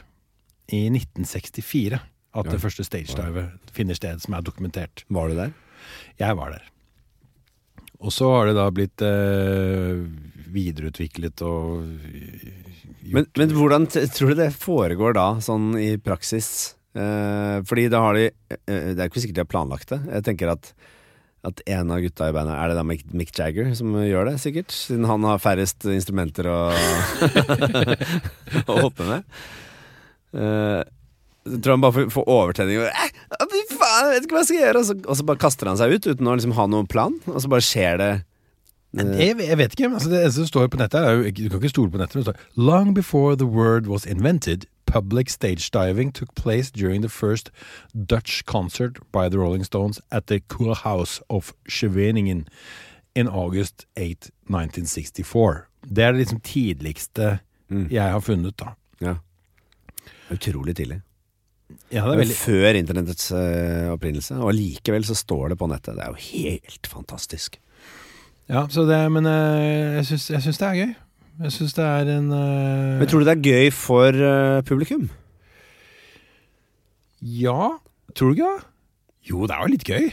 i 1964 at
Ja.
det første stagedivet finner sted, som er dokumentert.
Var du der?
Jeg var der. Og så har det da blitt eh, videreutviklet og
Men, men hvordan t- tror du det foregår da, sånn i praksis? Eh, fordi da har de eh, Det er ikke sikkert de har planlagt det. Jeg tenker at at en av gutta i bandet Er det da Mick, Mick Jagger som gjør det, sikkert? Siden han har færrest instrumenter å, å hoppe med. Eh, jeg tror han bare får- får overtenning og «Eh, å, Fy faen, jeg vet ikke hva jeg skal gjøre! Og så, og så bare kaster han seg ut uten å liksom ha noen plan, og så bare skjer det. eh,
Jeg, jeg vet ikke, men altså det eneste som står på nettet, er jo ikke- Du kan ikke stole på nettet, men det står Long before the word was invented, public stage diving took place during the first Dutch concert by the Rolling Stones at the Kurhaus of Scheveningen in August 8, 1964. Det er det liksom tidligste
Mm.
jeg har funnet, da.
Ja. Utrolig tidlig.
Ja, det er veldig
Før internettets eh, opprinnelse, og likevel så står det på nettet. Det er jo helt fantastisk.
Ja, så det, men eh, jeg syns, jeg syns det er gøy. Jeg syns det er en eh,
Men tror du det er gøy for eh, publikum?
Ja. Tror du ikke det? Jo, det er jo litt gøy.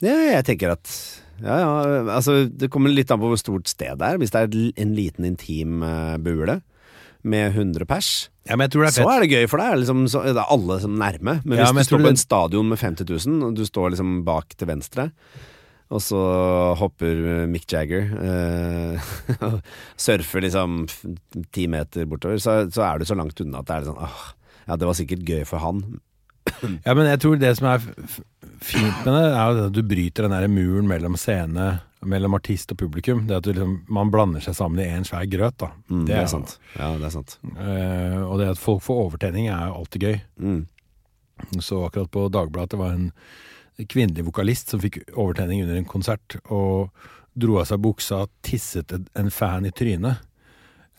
Ja, jeg tenker at ja, ja, altså, Det kommer litt an på hvor stort sted det er. Hvis det er l- en liten, intim eh, bule med 100 pers,
Ja, men jeg tror det er
så
fett.
er det gøy for deg. Liksom, så, det er alle som er nærme. Men
Ja, men jeg
hvis du står
tror
på
det-
en stadion med 50 000, og du står liksom bak til venstre, og så hopper eh, Mick Jagger eh, og surfer liksom f- ti meter bortover, så, så er du så langt unna at det er litt sånn åh, Ja, det var sikkert gøy for han.
Ja, men jeg tror det som er f- f- fint med det, er jo det at du bryter den der muren mellom scene, mellom artist og publikum. Det at du liksom, man blander seg sammen i én svær grøt, da.
Mm, det,
jo-
er sant. Ja, det er sant.
eh, og det at folk får overtenning er jo alltid gøy.
Mm.
Så akkurat på Dagbladet det var en kvinnelig vokalist som fikk overtenning under en konsert, og dro av seg buksa, tisset en- en fan i trynet.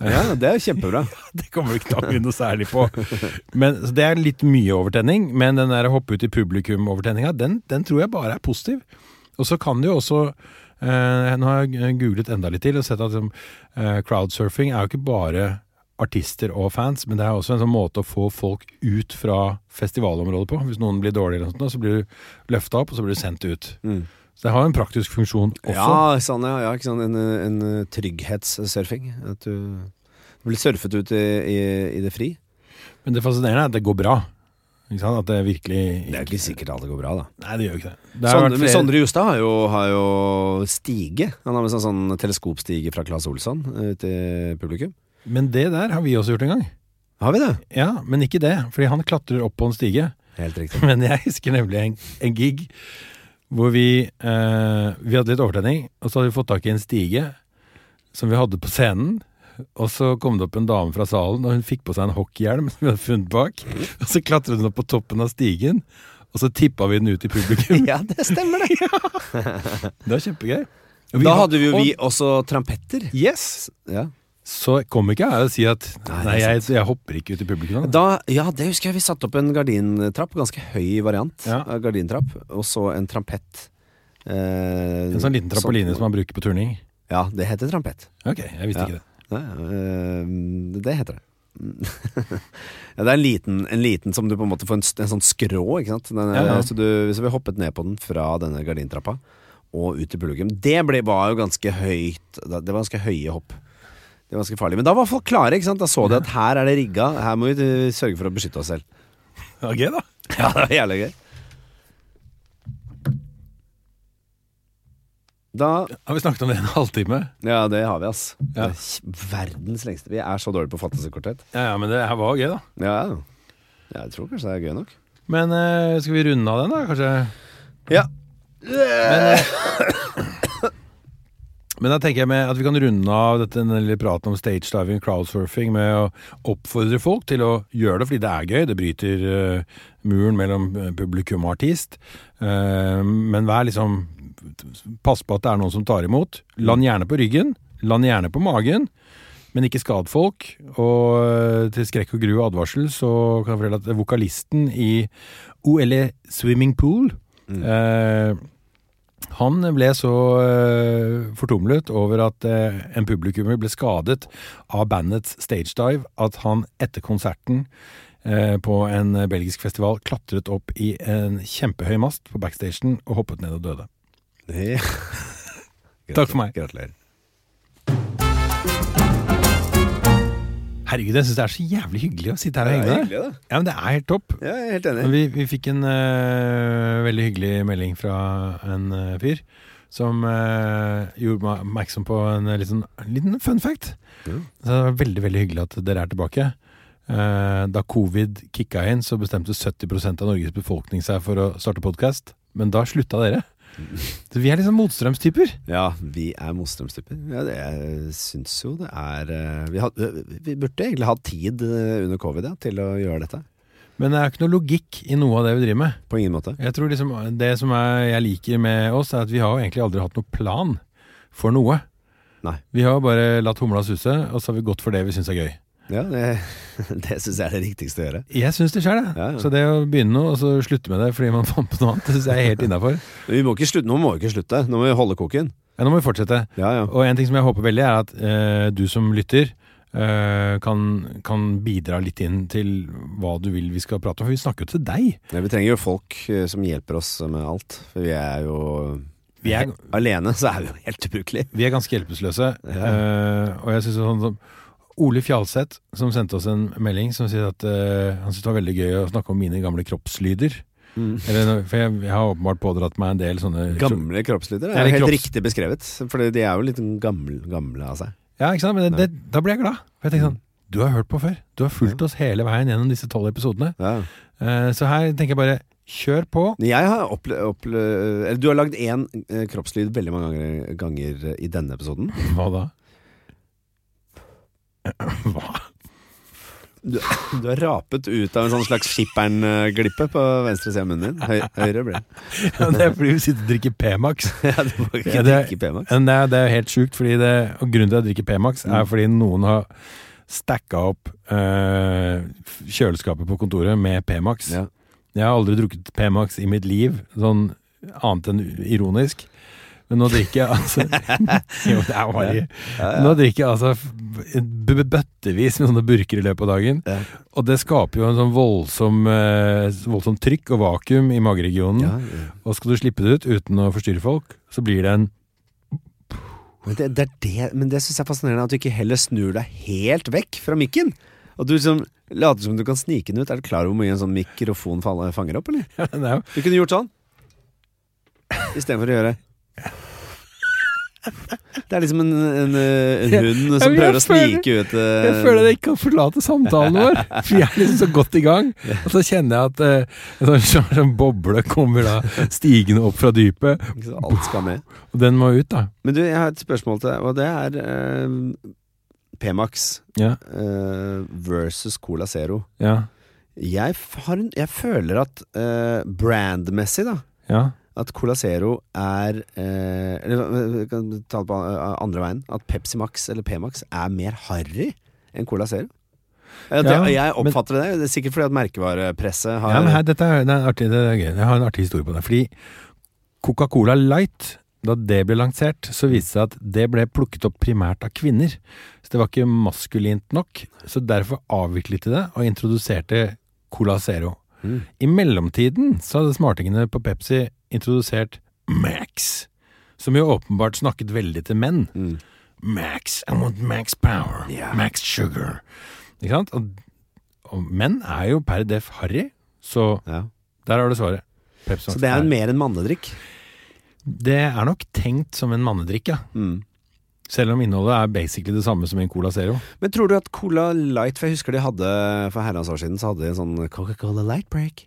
Ja, det er kjempebra.
Det kommer ikke tanke noe særlig på. Men, så det er litt mye overtenning, men den der hoppe ut i publikum-overtenninga, den, den tror jeg bare er positiv. Og så kan det jo også eh, Nå har jeg googlet enda litt til og sett at eh, crowdsurfing er jo ikke bare artister og fans, men det er også en sånn måte å få folk ut fra festivalområdet på. Hvis noen blir dårligere, eller noe sånt, så blir du løfta opp, og så blir du sendt ut.
Mm.
Så det har jo en praktisk funksjon også.
Ja, sånn, ja, ja ikke sant? En, eh, en eh, trygghetssurfing. At du, du blir surfet ut i, i, i det fri.
Men det fascinerende er at det går bra. Ikke sant? At det virkelig
Det er jo ikke sikkert alt det går bra, da.
Nei, det gjør jo ikke det. det har vært
Sondre, men
flere-
Sondre Justad har jo, har jo stige. Han har med seg sånn teleskopstige fra Claes Olsson eh, ut i publikum.
Men det der har vi også gjort en gang.
Har vi det?
Ja, men ikke det, fordi han klatrer opp på en stige.
Helt riktig.
Men jeg husker nemlig en, en gig hvor vi, eh, vi hadde litt overtenning, og så hadde vi fått tak i en stige som vi hadde på scenen. Og så kom det opp en dame fra salen, og hun fikk på seg en hockeyhjelm som vi hadde funnet bak. Og så klatret hun opp på toppen av stigen, og så tippa vi den ut i publikum.
Ja, det stemmer det.
Det var kjempegøy. Og vi
Da
had-
hadde jo vi
og-
også trampetter.
Yes!
Ja.
Så kom ikke jeg og si at
Nei, det er
nei, jeg, jeg hopper ikke ut i publikum. Da.
Da, ja, det husker jeg. Vi satte opp en gardintrapp, ganske høy variant
Ja.
av gardintrapp, og så en trampett. Eh,
En sånn liten trampoline som man bruker på turning.
Ja, det heter trampett.
Ok, jeg visste
Ja.
ikke det.
Ja, eh, det heter det. ja, det er en liten, en liten som du på en måte får en, s- en sånn skrå, ikke sant. Den,
Ja, ja.
Så, du, så vi hoppet ned på den fra denne gardintrappa og ut til publikum. Det ble, var jo ganske høyt. da- Det var ganske høye hopp. Det var ganske farlig. Men da var folk klare. ikke sant? Da så de at her er det rigga. Her må vi eh, sørge for å beskytte oss selv.
Ja, gøy da.
Ja, det var jævlig gøy. Da
Har vi snakket om det i en halvtime?
Ja, det har vi, ass.
Ja.
Det er Verdens lengste. Vi er så dårlige på fantasykortett.
Ja, ja, men det her var gøy, da.
Ja, ja. Ja, Jeg tror kanskje det er gøy nok.
Men eh, skal vi runde av den, da, kanskje?
Ja.
Men da tenker jeg med at vi kan runde av dette, denne lille praten om stage diving, crowdsurfing, med å oppfordre folk til å gjøre det fordi det er gøy. Det bryter eh, muren mellom eh, publikum og artist. Eh, men vær liksom Pass på at det er noen som tar imot. Land gjerne på ryggen. Land gjerne på magen. Men ikke skad folk. Og eh, til skrekk og gru og advarsel så kan jeg fortelle at vokalisten i OLE Swimming Pool eh, han ble så eh, fortumlet over at eh, en publikummer ble skadet av bandets stagedive at han etter konserten eh, på en eh, belgisk festival klatret opp i en kjempehøy mast på backstagen og hoppet ned og døde. Takk for meg.
Gratulerer.
Herregud, jeg syns det er så jævlig hyggelig å sitte her og henge der.
hyggelig, det.
Ja, men det er helt topp.
Ja, jeg er helt enig.
Men Vi, vi fikk en eh, veldig hyggelig melding fra en eh, fyr som eh, gjorde meg oppmerksom på en eh, liten, liten fun fact.
Ja.
Så det var veldig veldig hyggelig at dere er tilbake. Eh, da covid kicka inn, så bestemte 70 av Norges befolkning seg for å starte podkast. Men da slutta dere. Så vi er liksom motstrømstyper.
Ja, vi er motstrømstyper. Ja, det- jeg syns jo det er eh, vi, had, vi burde egentlig hatt tid eh, under covid ja, til å gjøre dette.
Men det er ikke noe logikk i noe av det vi driver med.
På ingen måte.
Jeg tror liksom Det som er, jeg liker med oss, er at vi har jo egentlig aldri hatt noen plan for noe.
Nei.
Vi har bare latt humla suse, og så har vi gått for det vi syns er gøy.
Ja, det, det syns jeg er det riktigste å gjøre.
Jeg syns det sjøl, jeg.
Ja, ja.
Så det å begynne noe, og så slutte med det fordi man fant på noe annet, det syns jeg er helt innafor.
Men vi må ikke slutte, nå må vi ikke slutte. Nå må vi holde koken.
Ja, nå må vi fortsette.
Ja, ja.
Og en ting som jeg håper veldig, er at eh, du som lytter eh, kan, kan bidra litt inn til hva du vil vi skal prate om, for vi snakker jo til deg.
Ja, vi trenger jo folk eh, som hjelper oss med alt. For vi er jo
Vi er,
Alene så er vi jo helt ubrukelige.
vi er ganske hjelpeløse. eh, og jeg synes det er sånn som Ole Fjalseth, som sendte oss en melding som sier at eh, han syntes det var veldig gøy å snakke om mine gamle kroppslyder. Eller, noe- for jeg, jeg har åpenbart pådratt meg en del sånne
Gamle kroppslyder.
Ja, det
Det er
er
helt
kropps-
riktig beskrevet. For de er jo litt sånn gamle, gamle av seg.
Ja, ikke sant? Men det, det, da blir jeg glad. For jeg tenker sånn Du har hørt på før. Du har fulgt oss hele veien gjennom disse tolv episodene.
Ja.
Eh, så her tenker jeg bare kjør på.
Jeg har opple... opple eller du har lagd én eh, kroppslyd veldig mange ganger, ganger eh, i denne episoden.
Hva da? Hva?
Du, du har rapet ut av en sånn slags skipperen-glippe på venstre side av munnen din. Høy, høyre ble det.
Ja, det er fordi vi sitter og drikker P-Max.
Ja, du må ikke
Ja, det-
drikke P-Max.
Men Det, er- det er jo helt sjukt, fordi det, og grunnen til at jeg drikker P-Max,
Mm.
er fordi noen har stacka opp eh, kjøleskapet på kontoret med P-Max.
Ja.
Jeg har aldri drukket P-Max i mitt liv, sånn annet enn ironisk. Men nå drikker jeg altså Jo, det er bare Nå drikker jeg altså f- en b- bøttevis med sånne burker i løpet av dagen.
Ja.
Og det skaper jo en sånn voldsom, eh, voldsomt trykk og vakuum i mageregionen.
Ja, ja.
Og skal du slippe det ut uten å forstyrre folk, så blir det en
Men det, det, er det, men det synes jeg er fascinerende At du ikke heller snur deg helt vekk fra mikken At du liksom later som du kan snike den ut Er du klar over hvor mye en sånn mikrofon faller- fanger opp, eller?
Ja, det er jo-
Du kunne gjort sånn I stedet for å gjøre Det er liksom en, en, eh, en hund som
men jeg
prøver å
føler-
snike ut eh,
Jeg føler jeg ikke kan forlate samtalen vår, for jeg er liksom så godt i gang. Og så kjenner jeg at eh, en sånn, sånn, sånn boble kommer da stigende opp fra dypet,
ikke sant, Alt skal med
og den må ut, da.
Men du, jeg har et spørsmål til deg Og det er eh, P-Max
Ja.
eh, Versus Cola Zero
Ja.
Jeg, f- har en, jeg føler at eh, brandmessig da
Ja.
At Cola Zero er eh, Eller eh, vi kan ta det på eh, andre veien At Pepsi Max eller P-Max er mer harry enn Cola Zero At
Ja,
jeg, jeg
men-
oppfatter det Det er sikkert fordi at merkevarepresset har
ja men her, dette er, det er artig, det er gøy. Jeg har en artig historie på det. Fordi Coca-Cola Light, da det ble lansert, så viste det seg at det ble plukket opp primært av kvinner. Så det var ikke maskulint nok. Så derfor avviklet de det, og introduserte Cola Zero.
Mm.
I mellomtiden så hadde smartingene på Pepsi introdusert Max, som jo åpenbart snakket veldig til menn.
Mm.
Max, I want max power,
Ja.
max sugar. Ikke sant? Og, og menn er jo per def harry, så
ja.
der har du svaret. Pepsi
Så
Max
det er
er-
jo mer en mannedrikk
det er nok tenkt som en mannedrikk, ja.
mm.
Selv om innholdet er basically det samme som i en Cola Zero.
Men tror du at Cola Light For jeg husker de hadde For herrens år siden Så hadde de en sånn Coca-Cola Light Break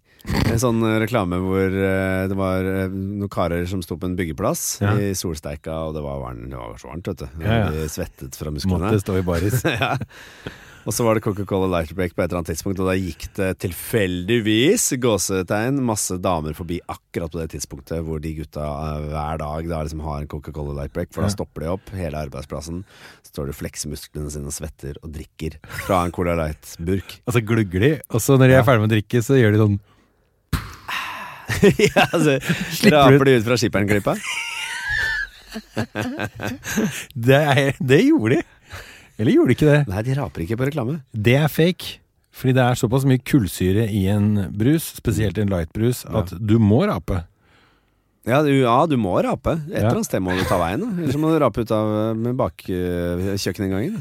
En sånn eh, reklame hvor eh, det var eh, noen karer som sto på en byggeplass
Ja.
I solsteika Og det var, varm- det var så varmt, vet du
Ja, ja.
De svettet fra
Måtte
musklene
stå i baris.
ja. Og så var det Coca-Cola Light Break på et eller annet tidspunkt Og da gikk det tilfeldigvis Gåsetegn Masse damer forbi akkurat på det tidspunktet Hvor de gutta eh, hver dag da liksom har en Coca-Cola Light Break For da
Ja.
stopper de opp hele arbeidsplassen Så står de og flekser musklene sine og svetter og drikker Fra en Cola Light burk
Og så Altså, glugger de, og så når de er ferdig med å drikke, så gjør de sånn
ja, så
Slipper
Raper de ut fra skipperen-klippa
Det, er, det gjorde de! Eller gjorde de ikke det?
Nei, de raper ikke på reklame
Det er fake. Fordi det er såpass mye kullsyre i en brus, spesielt i en lightbrus, at du må rape.
ja du, ja, du må rape Et
Ja.
eller annet sted må du ta veien da. Ellers må du rape ut av eh, med bak eh, kjøkkeninngangen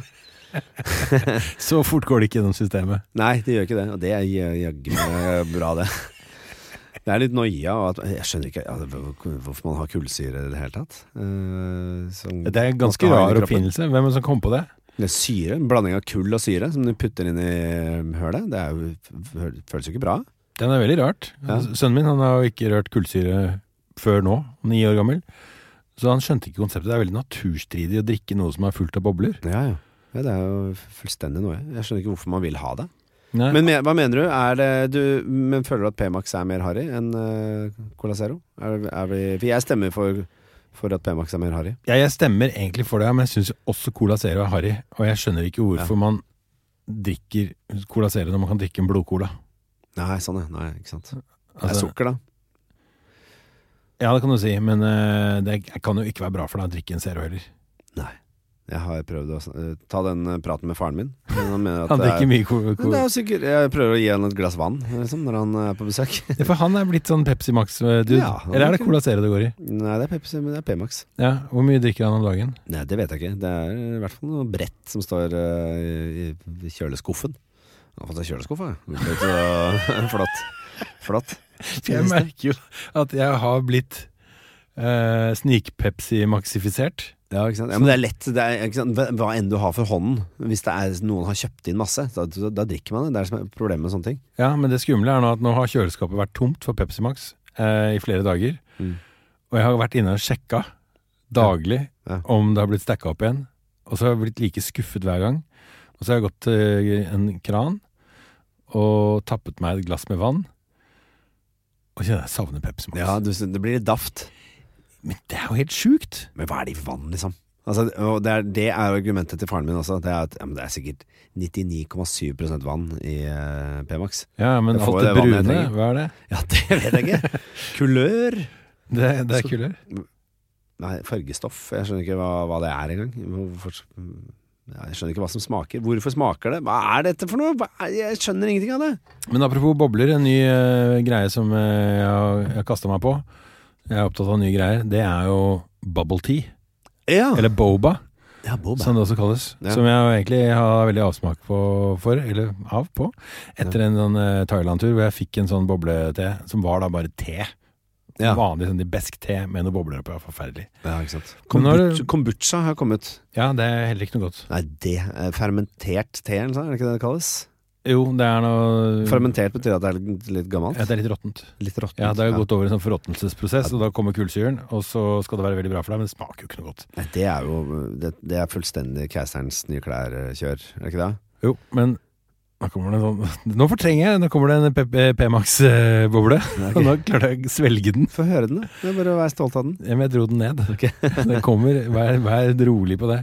Så fort går det ikke gjennom systemet.
Nei, det gjør ikke det, og det er j- jaggu meg eh, bra, det. Det er litt noia, og at, jeg skjønner ikke ja, hvor- hvorfor man har kullsyre i det hele tatt. Eh, som-
Det er en ganske
man skal ha i
rar
kroppen.
oppfinnelse. Hvem er det som kom på det?
Det er syre, en blanding av kull og syre som du putter inn i um, hølet. Det er jo, hø- føles jo ikke bra.
Den er veldig rart.
Ja.
Sønnen min han har jo ikke rørt kullsyre før nå, ni år gammel. Så han skjønte ikke konseptet. Det er veldig naturstridig å drikke noe som er fullt av bobler.
Ja, ja. ja det er jo fullstendig noe. Jeg skjønner ikke hvorfor man vil ha det.
Nei.
Men me- hva mener du? Er det, du men føler du at P-Max er mer harry enn eh, Cola Zero? Er, er vi, for jeg stemmer for, for at P-Max er mer harry.
ja, jeg stemmer egentlig for det, men jeg syns også Cola Zero er harry. Og jeg skjønner ikke hvorfor man drikker Cola Zero når man kan drikke en blodcola.
Nei, sånn ja. Nei, ikke sant. Det er
Altså,
sukker, da.
ja, det kan du si, men eh, det kan jo ikke være bra for deg å drikke en Zero heller.
Jeg har prøvd å eh, ta den eh, praten med faren min. Men han mener at
Han
det er,
drikker mye co-
Men det
co-
er jo sikkert, Jeg prøver å gi han et glass vann liksom, når han er på besøk.
Ja, For han er blitt sånn Pepsi Max-dude.
Ja, han
Eller er det
drikker-
Cola Zero det går i?
Nei, det er Pepsi, men det er P-Max.
Ja, Hvor mye drikker han om dagen?
Nei, Det vet jeg ikke. Det er i hvert fall noe brett som står eh, i, i kjøleskuffen. Han har fått seg kjøleskuffe, ja. Flott. Flott.
For jeg merker jo at jeg har blitt eh, snik-Pepsi-maxifisert.
Ja, ikke sant? ja, men det er lett. Det er, ikke sant? Hva- Hva enn du har for hånden. Hvis det er noen har kjøpt inn masse, da, da, da drikker man det. Det er det som er problemet med sånne ting.
Ja, men det skumle er nå at nå har kjøleskapet vært tomt for Pepsi Max eh, i flere dager.
Mm.
Og jeg har vært inne og sjekka daglig
Ja. Ja.
om det har blitt stacka opp igjen. Og så har jeg blitt like skuffet hver gang. Og så har jeg gått til en kran og tappet meg et glass med vann. Og kjenner jeg savner Pepsi Max.
Ja, du, Det blir litt daft.
Men det er jo helt sjukt!
Men hva er det i vann, liksom? Altså, og det, er, det er jo argumentet til faren min også. Det er, at, ja, men det er sikkert 99,7 vann i eh, P-Max.
Ja, men
Jeg får
alt det
jo det vannet jeg
brune,
trenger.
hva er det?
Ja, det vet jeg ikke. Kulør?
Det, det
Så-
er kulere.
Nei, fargestoff. Jeg skjønner ikke hva, hva det er engang. Hvorfor, ja, jeg skjønner ikke hva som smaker. Hvorfor smaker det? Hva er dette for noe? Hva er, jeg skjønner ingenting av det.
Men apropos bobler, en ny eh, greie som eh, jeg har, jeg har kasta meg på. Jeg er opptatt av nye greier. Det er jo bubble tea,
Ja,
eller boba,
ja Ah. boba.
som det også kalles.
Ja.
Som jeg egentlig har veldig avsmak på, for, eller av på, etter en sånn eh, Thailand-tur hvor jeg fikk en sånn boblete, som var da bare te.
Ja.
Vanlig sånn besk te med noen bobler oppi. Forferdelig.
Ja, ikke sant.
Men nå er
Kombucha,
det-
kombucha har kommet.
Ja, det er heller ikke noe godt.
Nei, det er fermentert te, eller noe, er det ikke det det kalles?
Jo, det er noe
Fermentert betyr at det er litt- litt gammelt.
Mm. Ja, det er litt råttent.
Litt råttent.
Ja, det har jo gått over i en sånn forråtnelsesprosess, og da kommer kullsyren, og så skal det være veldig bra for deg, men det smaker jo ikke noe godt.
Nei, det er jo Det, det er fullstendig Keiserens nye klær-kjør, er det ikke det?
Jo, men nå kommer det en sånn Nå fortrenger jeg! Nå kommer det en P- P-Max-boble. Og nå klarte jeg å svelge den.
Få høre den, da. Det er bare å være stolt av den.
Ja, Men jeg dro den ned. Den kommer, vær, vær rolig på det.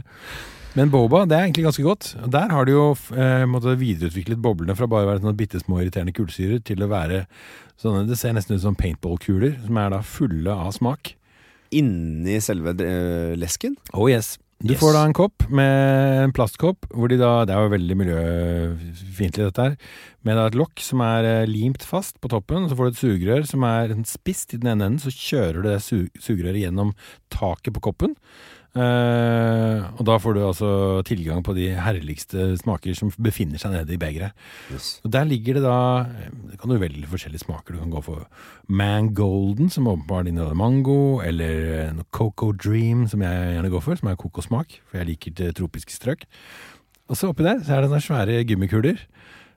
Men boba det er egentlig ganske godt. Og Der har de jo eh, måtte videreutviklet boblene fra bare å være sånne bitte små irriterende kullsyrer til å være sånne Det ser nesten ut som paintballkuler, som er da fulle av smak.
Inni selve eh, lesken?
Oh yes. Du
Yes.
får da en kopp med en plastkopp, hvor de da, det er jo veldig miljøfiendtlig dette her, med da et lokk som er eh, limt fast på toppen, så får du et sugerør som er en spist i den ene enden, så kjører du det su sugerøret gjennom taket på koppen, eh, og da får du altså tilgang på de herligste smaker som befinner seg nede i begeret.
Yes.
Og der ligger det da Det kan du velge forskjellige smaker. Du kan gå for mangolden, som åpenbart inneholder mango, eller eh, noe coco dream, som jeg gjerne går for, som er kokosmak, for jeg liker det tropiske strøk. Og så oppi der så er det sånne svære gummikuler.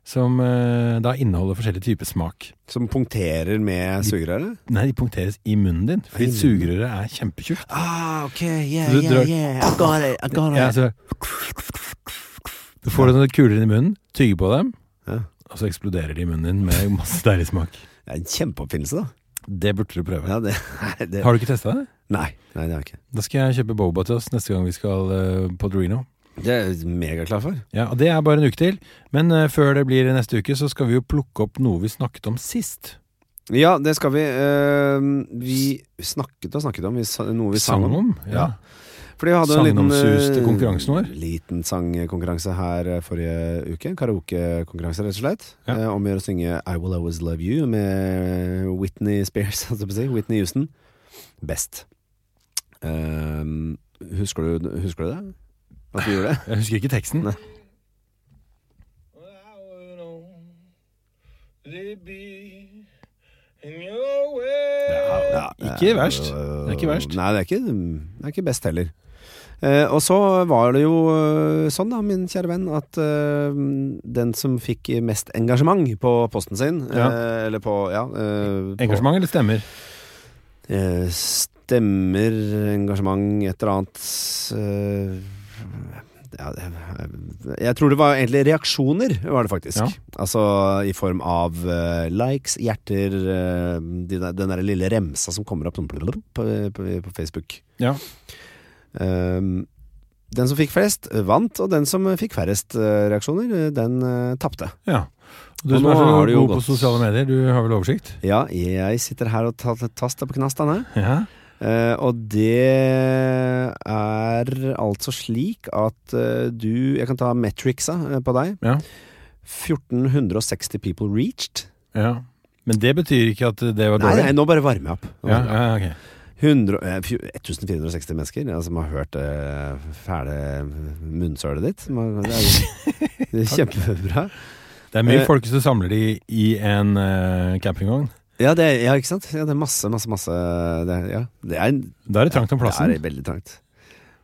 Som eh, da inneholder forskjellige typer smak.
Som punkterer med sugerøret?
Nei, de punkteres i munnen din, fordi
I munnen.
sugerøret er kjempetjukt.
Ah, ok, yeah,
Så du drar-
yeah. I got it, I got
Ja, så du får noen kuler inn i munnen, tygger på dem,
Ja.
og så eksploderer de i munnen din med masse deilig smak.
Det er en kjempeoppfinnelse, da.
Det burde du prøve.
Ja, det, det,
Har du ikke testa det?
nei, nei, det har jeg ikke.
Da skal jeg kjøpe boba til oss neste gang vi skal eh, på Drino.
Det er jeg megaklar for.
Ja, og Det er bare en uke til, men eh, før det blir neste uke, så skal vi jo plukke opp noe vi snakket om sist.
Ja, det skal vi. eh, vi snakket og snakket om vi, sa- noe vi sang om.
Ja.
Fordi vi hadde en liten
Sagnomsuste
eh,
konkurransen vår.
Liten sangkonkurranse her eh, forrige uke. Karaokekonkurranse, rett og slett.
Ja.
Eh, om å gjøre å synge I Will Always Love You med Whitney Spears, holdt jeg på å si. Whitney Houston. Best. Eh, husker, du, husker du det? At vi gjorde det?
Jeg husker ikke teksten.
Nei. Ja, det
Ikke
er-
verst. Det er ikke verst.
Nei, det er ikke, det er ikke best heller. Eh, og så var det jo eh, sånn, da, min kjære venn, at eh, den som fikk mest engasjement på posten sin, eh,
Ja.
eller på ja, eh, på-
Engasjement eller stemmer?
Eh, Stemmer, engasjement, et eller annet eh, ja, det- eh, Jeg tror det var egentlig reaksjoner, var det faktisk.
Ja.
Altså i form av eh, likes, hjerter, eh, de der, den der lille remsa som kommer opp sånn blablabla på, på, på Facebook.
Ja.
Eh, den som fikk flest, eh, vant, og den som fikk færrest eh, reaksjoner, eh, den uh, tapte.
Ja. Og du
Og
som
nå
er så
har
god
det jo
på
gått-
sosiale medier, du har vel oversikt?
Ja, jeg sitter her og tar taster på knastene.
Ja.
Eh, og det er altså slik at eh, du Jeg kan ta metricsa eh, på deg.
Ja.
1460 people reached.
ja. Men det betyr ikke at det var
Nei,
dårlig?
nei, nå bare varmer jeg opp. Nå
Ja,
varmer jeg opp.
ja, ok.
100, eh, fjo- 1460 mennesker ja, som har hørt eh, fæle munnsølet ditt. Man- Det er, jo- det er kjempebra.
Det er mye
Eh,
folk som samler de i en eh, campingvogn.
Ja, det, er- ja, ikke sant? Ja, det er masse, masse, masse Det er, ja. det er,
Da er det trangt om plassen.
Det er veldig trangt.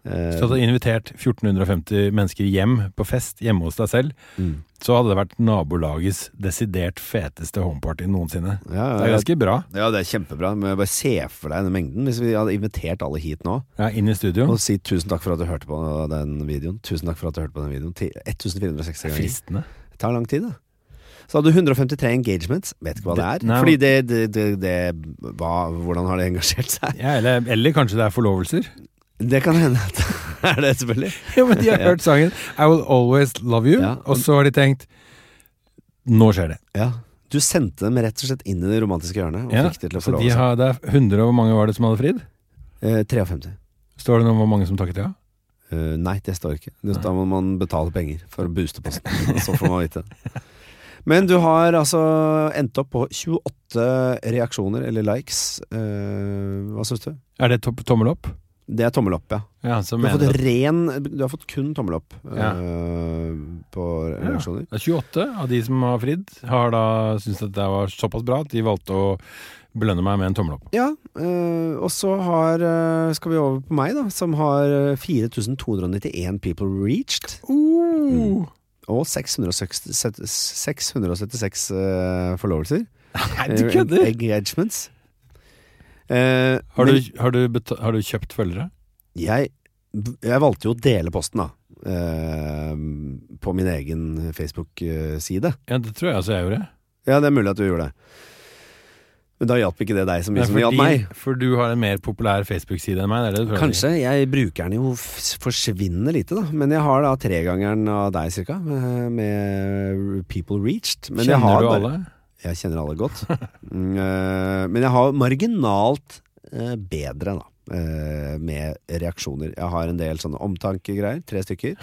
Eh,
Hvis du hadde invitert 1450 mennesker hjem på fest hjemme hos deg selv,
mm.
så hadde det vært nabolagets desidert feteste homeparty noensinne.
Ja, ja,
Det er
ja.
ganske bra.
Ja, det er kjempebra. Men bare se for deg den mengden. Hvis vi hadde invitert alle hit nå,
Ja, inn i studio.
og si tusen takk for at du hørte på den videoen. Tusen takk for at du hørte på den videoen. Ti- 1460
Det er
ganger.
fristende.
Det tar lang tid, da. Så hadde du 153 engagements. Vet ikke hva det
Det-
er.
nei.
Fordi det, det, det, det hva, Hvordan har det engasjert seg?
Ja, eller, eller kanskje det er forlovelser?
Det kan hende at Er det selvfølgelig?
Ja, men de har hørt sangen I Will Always Love You,
Ja.
og så har de tenkt Nå skjer det.
Ja. Du sendte dem rett og slett inn i det romantiske hjørnet og
Ja,
fikk det til å
Så de
forlove seg.
har, det er 100 og hvor mange var det som hadde fridd?
Eh, 53.
Står det noe om hvor mange som takket ja?
Eh, nei, det står ikke. Det, da må man betale penger for å booste posten. Så får man vite det. Men du har altså endt opp på 28 reaksjoner, eller likes. Eh, hva syns du?
Er det to tommel opp?
Det er tommel opp, ja.
Ja, så
Du har, fått
mener du at
ren, du har fått kun tommel opp eh,
Ja.
på
Ja.
reaksjoner.
det er 28 av de som har fridd, har da syntes at det var såpass bra at de valgte å belønne meg med en tommel opp.
Ja, eh, og så har eh, Skal vi over på meg, da, som har eh, 4291 people reached. Uh!
Mm.
Og 660, 676 eh, forlovelser.
Nei, du kødder!
Eh, Engagements. Eh,
Har
men
du, har, du beta- har du kjøpt følgere?
jeg, jeg valgte jo å dele posten, da. Eh, på min egen Facebook-side.
Ja, det tror jeg altså jeg gjorde.
Ja, det er mulig at du gjorde det. Men da hjalp ikke det deg så mye
Nei,
som det hjalp
fordi-
meg.
For du har en mer populær Facebook-side enn meg. Det er det du prøver å si.
Kanskje. Jeg bruker den jo f- forsvinnende lite, da. Men jeg har da tregangeren av deg, cirka. Med, med People Reached. Men jeg
Kjenner
har
du
bare-
alle?
Jeg kjenner alle godt. Mm, eh, men jeg har marginalt eh, bedre, da. eh, med reaksjoner. Jeg har en del sånne omtankegreier. Tre stykker.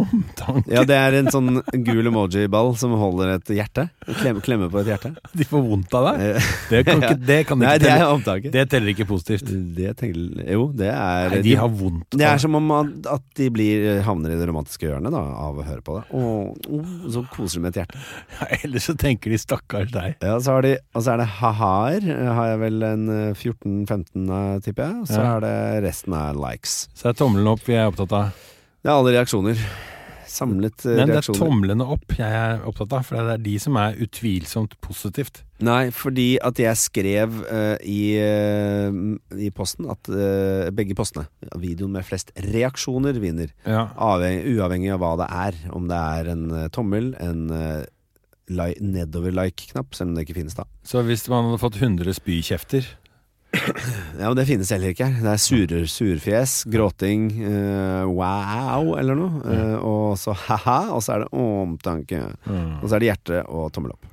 Omtanke?
Ja, det er en sånn gul emoji-ball som holder et hjerte. Klemme, klemme på et hjerte.
De får vondt av deg?
Eh,
Det kan ikke, det kan
Nei,
ikke
det er
telle.
omtanke.
Det teller ikke positivt.
Det tenker, jo, det er
Nei, de har vondt av
det er som om at at de blir, eh, havner i det romantiske hjørnet da, av å høre på det. Og, og så koser de med et hjerte.
Ja, Ellers så tenker de stakkars deg.
Ja, så har de, og så er det ha-haer. Har jeg vel en eh, 14-15, eh, tipper jeg. Og så
Ja.
er det resten er likes.
Så er tommelen opp jeg er opptatt av.
Det er alle reaksjoner. Samlet eh,
Nei, det er
reaksjoner.
tomlene opp jeg er opptatt av, for det er de som er utvilsomt positivt.
Nei, fordi at jeg skrev eh, i, eh, i posten at eh, begge postene, videoen med flest reaksjoner, vinner.
Ja.
Avhengig, uavhengig av hva det er. Om det er en eh, tommel, en eh, li nedover-like-knapp, selv om det ikke finnes da.
Så hvis man hadde fått 100 spykjefter
Ja, men Det finnes heller ikke her. Det er surer, surfjes, gråting, eh, wow eller noe. eh, og så ha-ha, og så er det omtanke. Og så er det hjerte og tommel opp.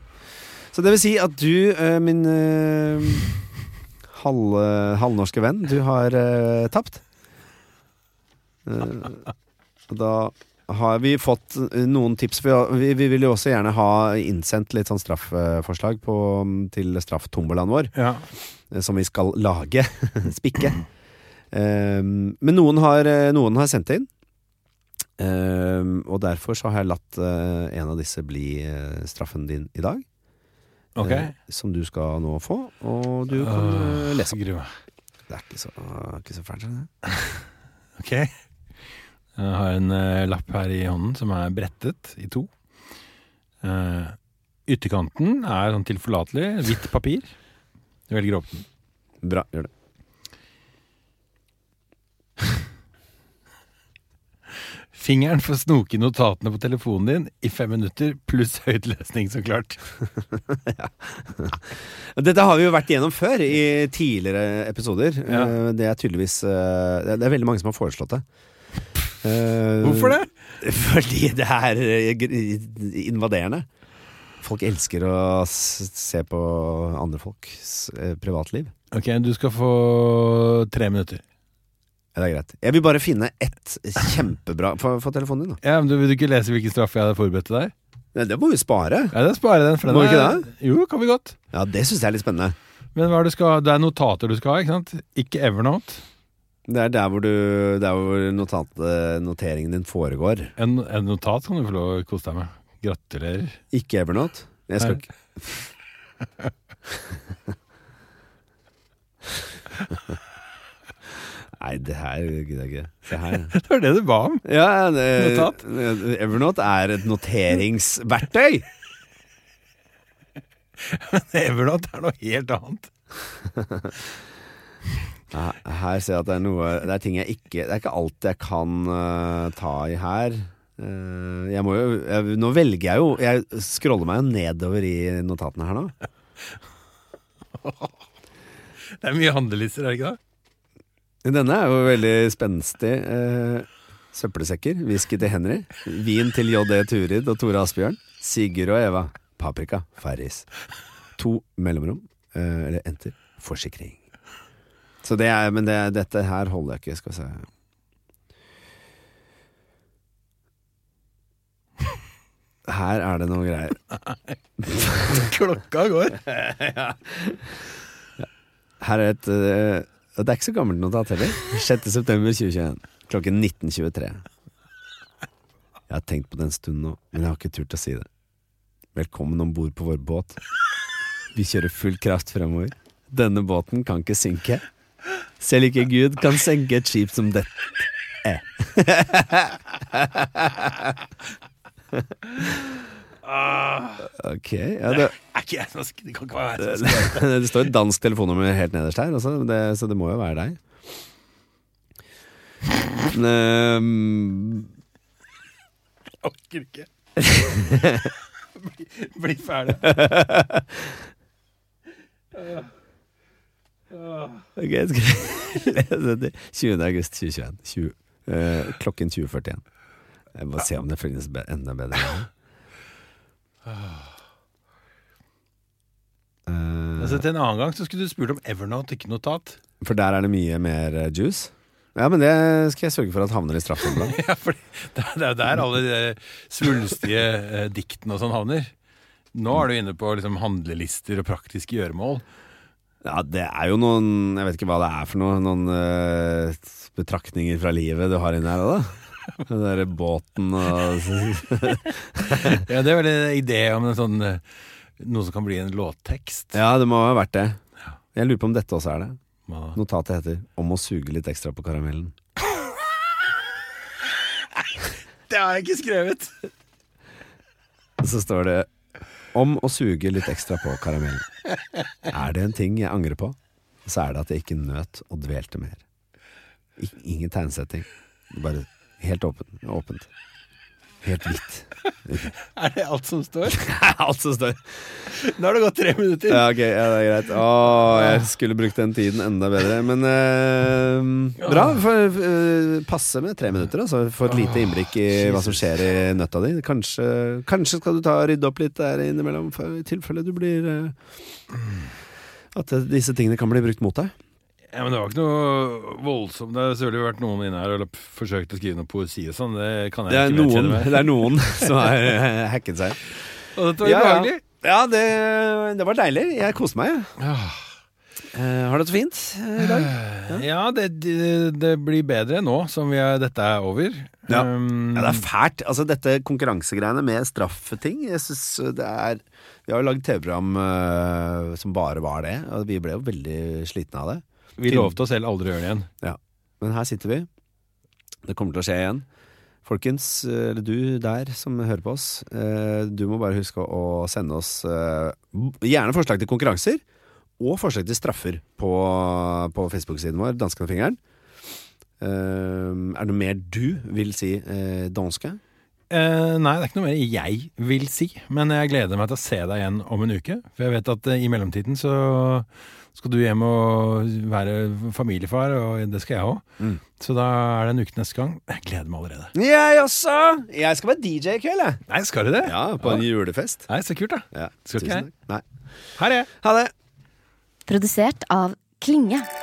Så det vil si at du, eh, min eh, halv, halvnorske venn, du har eh, tapt. Eh, og da har vi fått eh, noen tips. Vi, har- vi, vi vil jo også gjerne ha innsendt litt sånn straffforslag på, til strafftombolaen vår
Ja.
eh, som vi skal lage, spikke. Ehm, men noen har, eh, noen har sendt inn, Ehm, og derfor så har jeg latt eh, en av disse bli eh, straffen din i dag.
Ok. Ah.
eh, som du skal nå få, og du kan
Åh,
eh, lese.
gruer meg.
Det er ikke så, ikke så fælt. det.
Ok. Jeg har en eh, lapp her i hånden som er brettet i to. Eh, ytterkanten er sånn tilforlatelig, hvitt papir. Jeg velger å åpne den.
Bra, gjør det.
Fingeren får snoke i notatene på telefonen din i fem minutter, pluss høytlesning, så klart.
Dette har vi jo vært igjennom før i tidligere episoder.
Ja.
Eh, Det er tydeligvis eh, Det er- det er veldig mange som har foreslått det. Eh,
Hvorfor det?
Fordi det er eh, gr- invaderende. Folk elsker å s- se på andre folks eh, privatliv.
Ok, du skal få tre minutter.
Ja, Det er greit. Jeg vil bare finne ett kjempebra Få få telefonen din, da.
Ja, men du Vil du ikke lese hvilken straffe jeg hadde forberedt til deg?
Nei, det må vi spare.
Ja, da sparer jeg den. For den
Må vi ikke
er- Jo, kan vi godt.
Ja, Det syns jeg er litt spennende.
Men hva er det, du skal, ha? det er notater du skal ha, ikke sant? Ikke Evernote.
Det er der hvor, du, der hvor notat, eh, noteringen din foregår.
En, en notat kan du få lov å kose deg med. Gratulerer.
Ikke Evernote. Jeg skal
Nei.
ikke Nei, det her gidder jeg ikke. Se her.
Det var det du ba om.
Ja, det,
Notat.
Evernote er et noteringsverktøy.
Evernote er noe helt annet.
Ja, Her ser jeg at det er noe Det er ting jeg ikke Det er ikke alt jeg kan eh, ta i her. Eh, jeg må jo jeg, Nå velger jeg jo Jeg scroller meg jo nedover i notatene her nå.
Det er mye handlelister, er det ikke det?
Denne er jo veldig spenstig. eh, søppelsekker. Whisky til Henry. Vin til JD Turid og Tore Asbjørn. Sigurd og Eva. Paprika. Farris. To mellomrom. eh, eller enter. Forsikring. Så det er Men det, dette her holder jeg ikke. Skal vi se. Her er det noe greier.
Klokka går.
Her er et eh, Det er ikke så gammelt notat heller. 6. september 2021. Klokken 19.23. Jeg har tenkt på det en stund nå, men jeg har ikke turt å si det. Velkommen om bord på vår båt. Vi kjører full kraft fremover. Denne båten kan ikke synke. Selv ikke Gud kan senke et skip som dette. Ok, ja, det,
Er ikke jeg som har sk- Det kan ikke være jeg som har sk-
det står et dansk telefonnummer helt nederst her, også, det, så det må jo være deg. Men, ehm,
Jeg orker ikke. bli, bli ferdig.
ok, skal jeg lese det? 20. august 2021. 20, eh, klokken 20.41. Jeg må se om det finnes be enda bedre. Eh,
Altså, til en annen gang så skulle du spurt om Evernote, ikke notat.
for der er det mye mer eh, juice. Ja, men det skal jeg sørge for at havner i straffeområdet.
Ja, for det er det er jo der alle de svulstige eh, diktene og sånn havner. Nå er du inne på liksom, handlelister og praktiske gjøremål.
Ja, det er jo noen Jeg vet ikke hva det er for noe Noen eh, betraktninger fra livet du har inne her da Den der båten og
Ja, Det er vel en idé om en sånn, eh, noe som kan bli en låttekst.
Ja, det må ha vært det Jeg lurer på om dette også er det
Hva da?
Notatet heter Om å suge litt ekstra på karamellen
Det har jeg ikke skrevet!
Og så står det Om å suge litt ekstra på karamellen Er det en ting jeg angrer på Så er det at jeg ikke nøt og dvelte mer I, Ingen tegnsetting Bare helt åpen, åpent Helt hvitt
Er det alt som står?
Alt som står
Nå har det gått tre minutter.
Ja, ok, ja, det er greit. Å, jeg skulle brukt den tiden enda bedre. Men eh, bra. For, eh, passe med tre minutter, altså. Få et lite innblikk i hva som skjer i nøtta di. Kanskje, kanskje skal du ta og rydde opp litt der innimellom, for, i tilfelle du blir eh, At eh, disse tingene kan bli brukt mot deg.
Ja, men Det var ikke noe voldsomt. Det har selvfølgelig vært noen inne her og forsøkt å skrive noe poesi og sånn. Det kan
Det
jeg
er
ikke
noen,
vedkjenne meg.
det er noen som har eh, hacket seg.
Og dette var
Ja,
ubehagelig.
Ah. ja, ja det, det var deilig. Jeg koste meg. jeg.
Ja.
Eh, har du det så fint eh, i dag?
Ja, det, det, det blir bedre nå som vi er, dette er over.
Ja.
Um,
Ja, det er fælt. Altså, dette konkurransegreiene med straffeting Jeg synes øh, det er Vi har jo lagd TV-program eh, som bare var det, og vi ble jo veldig slitne av det.
vi lovte oss selv aldri å gjøre det igjen.
Men her sitter vi. Det kommer til å skje igjen. Folkens, eh, eller du der som hører på oss, eh, du må bare huske å sende oss eh, gjerne forslag til konkurranser og forslag til straffer på, på Facebook-siden vår, Dansken og fingeren. Eh, er det noe mer du vil si, eh, danske?
Eh, nei, det er ikke noe mer jeg vil si, men jeg gleder meg til å se deg igjen om en uke. For jeg vet at eh, i mellomtiden så skal du hjem og være familiefar, og det skal jeg òg.
Mm.
Så da er det en uke til neste gang. Jeg gleder meg allerede.
Jeg også! Jeg skal være DJ i kveld, jeg.
Nei, skal du det?
Ja, på en julefest.
Nei, så kult, da.
Ja,
Skal ikke
tusen takk. Nei.
Her er jeg.
Ha det!
Produsert av Klinge.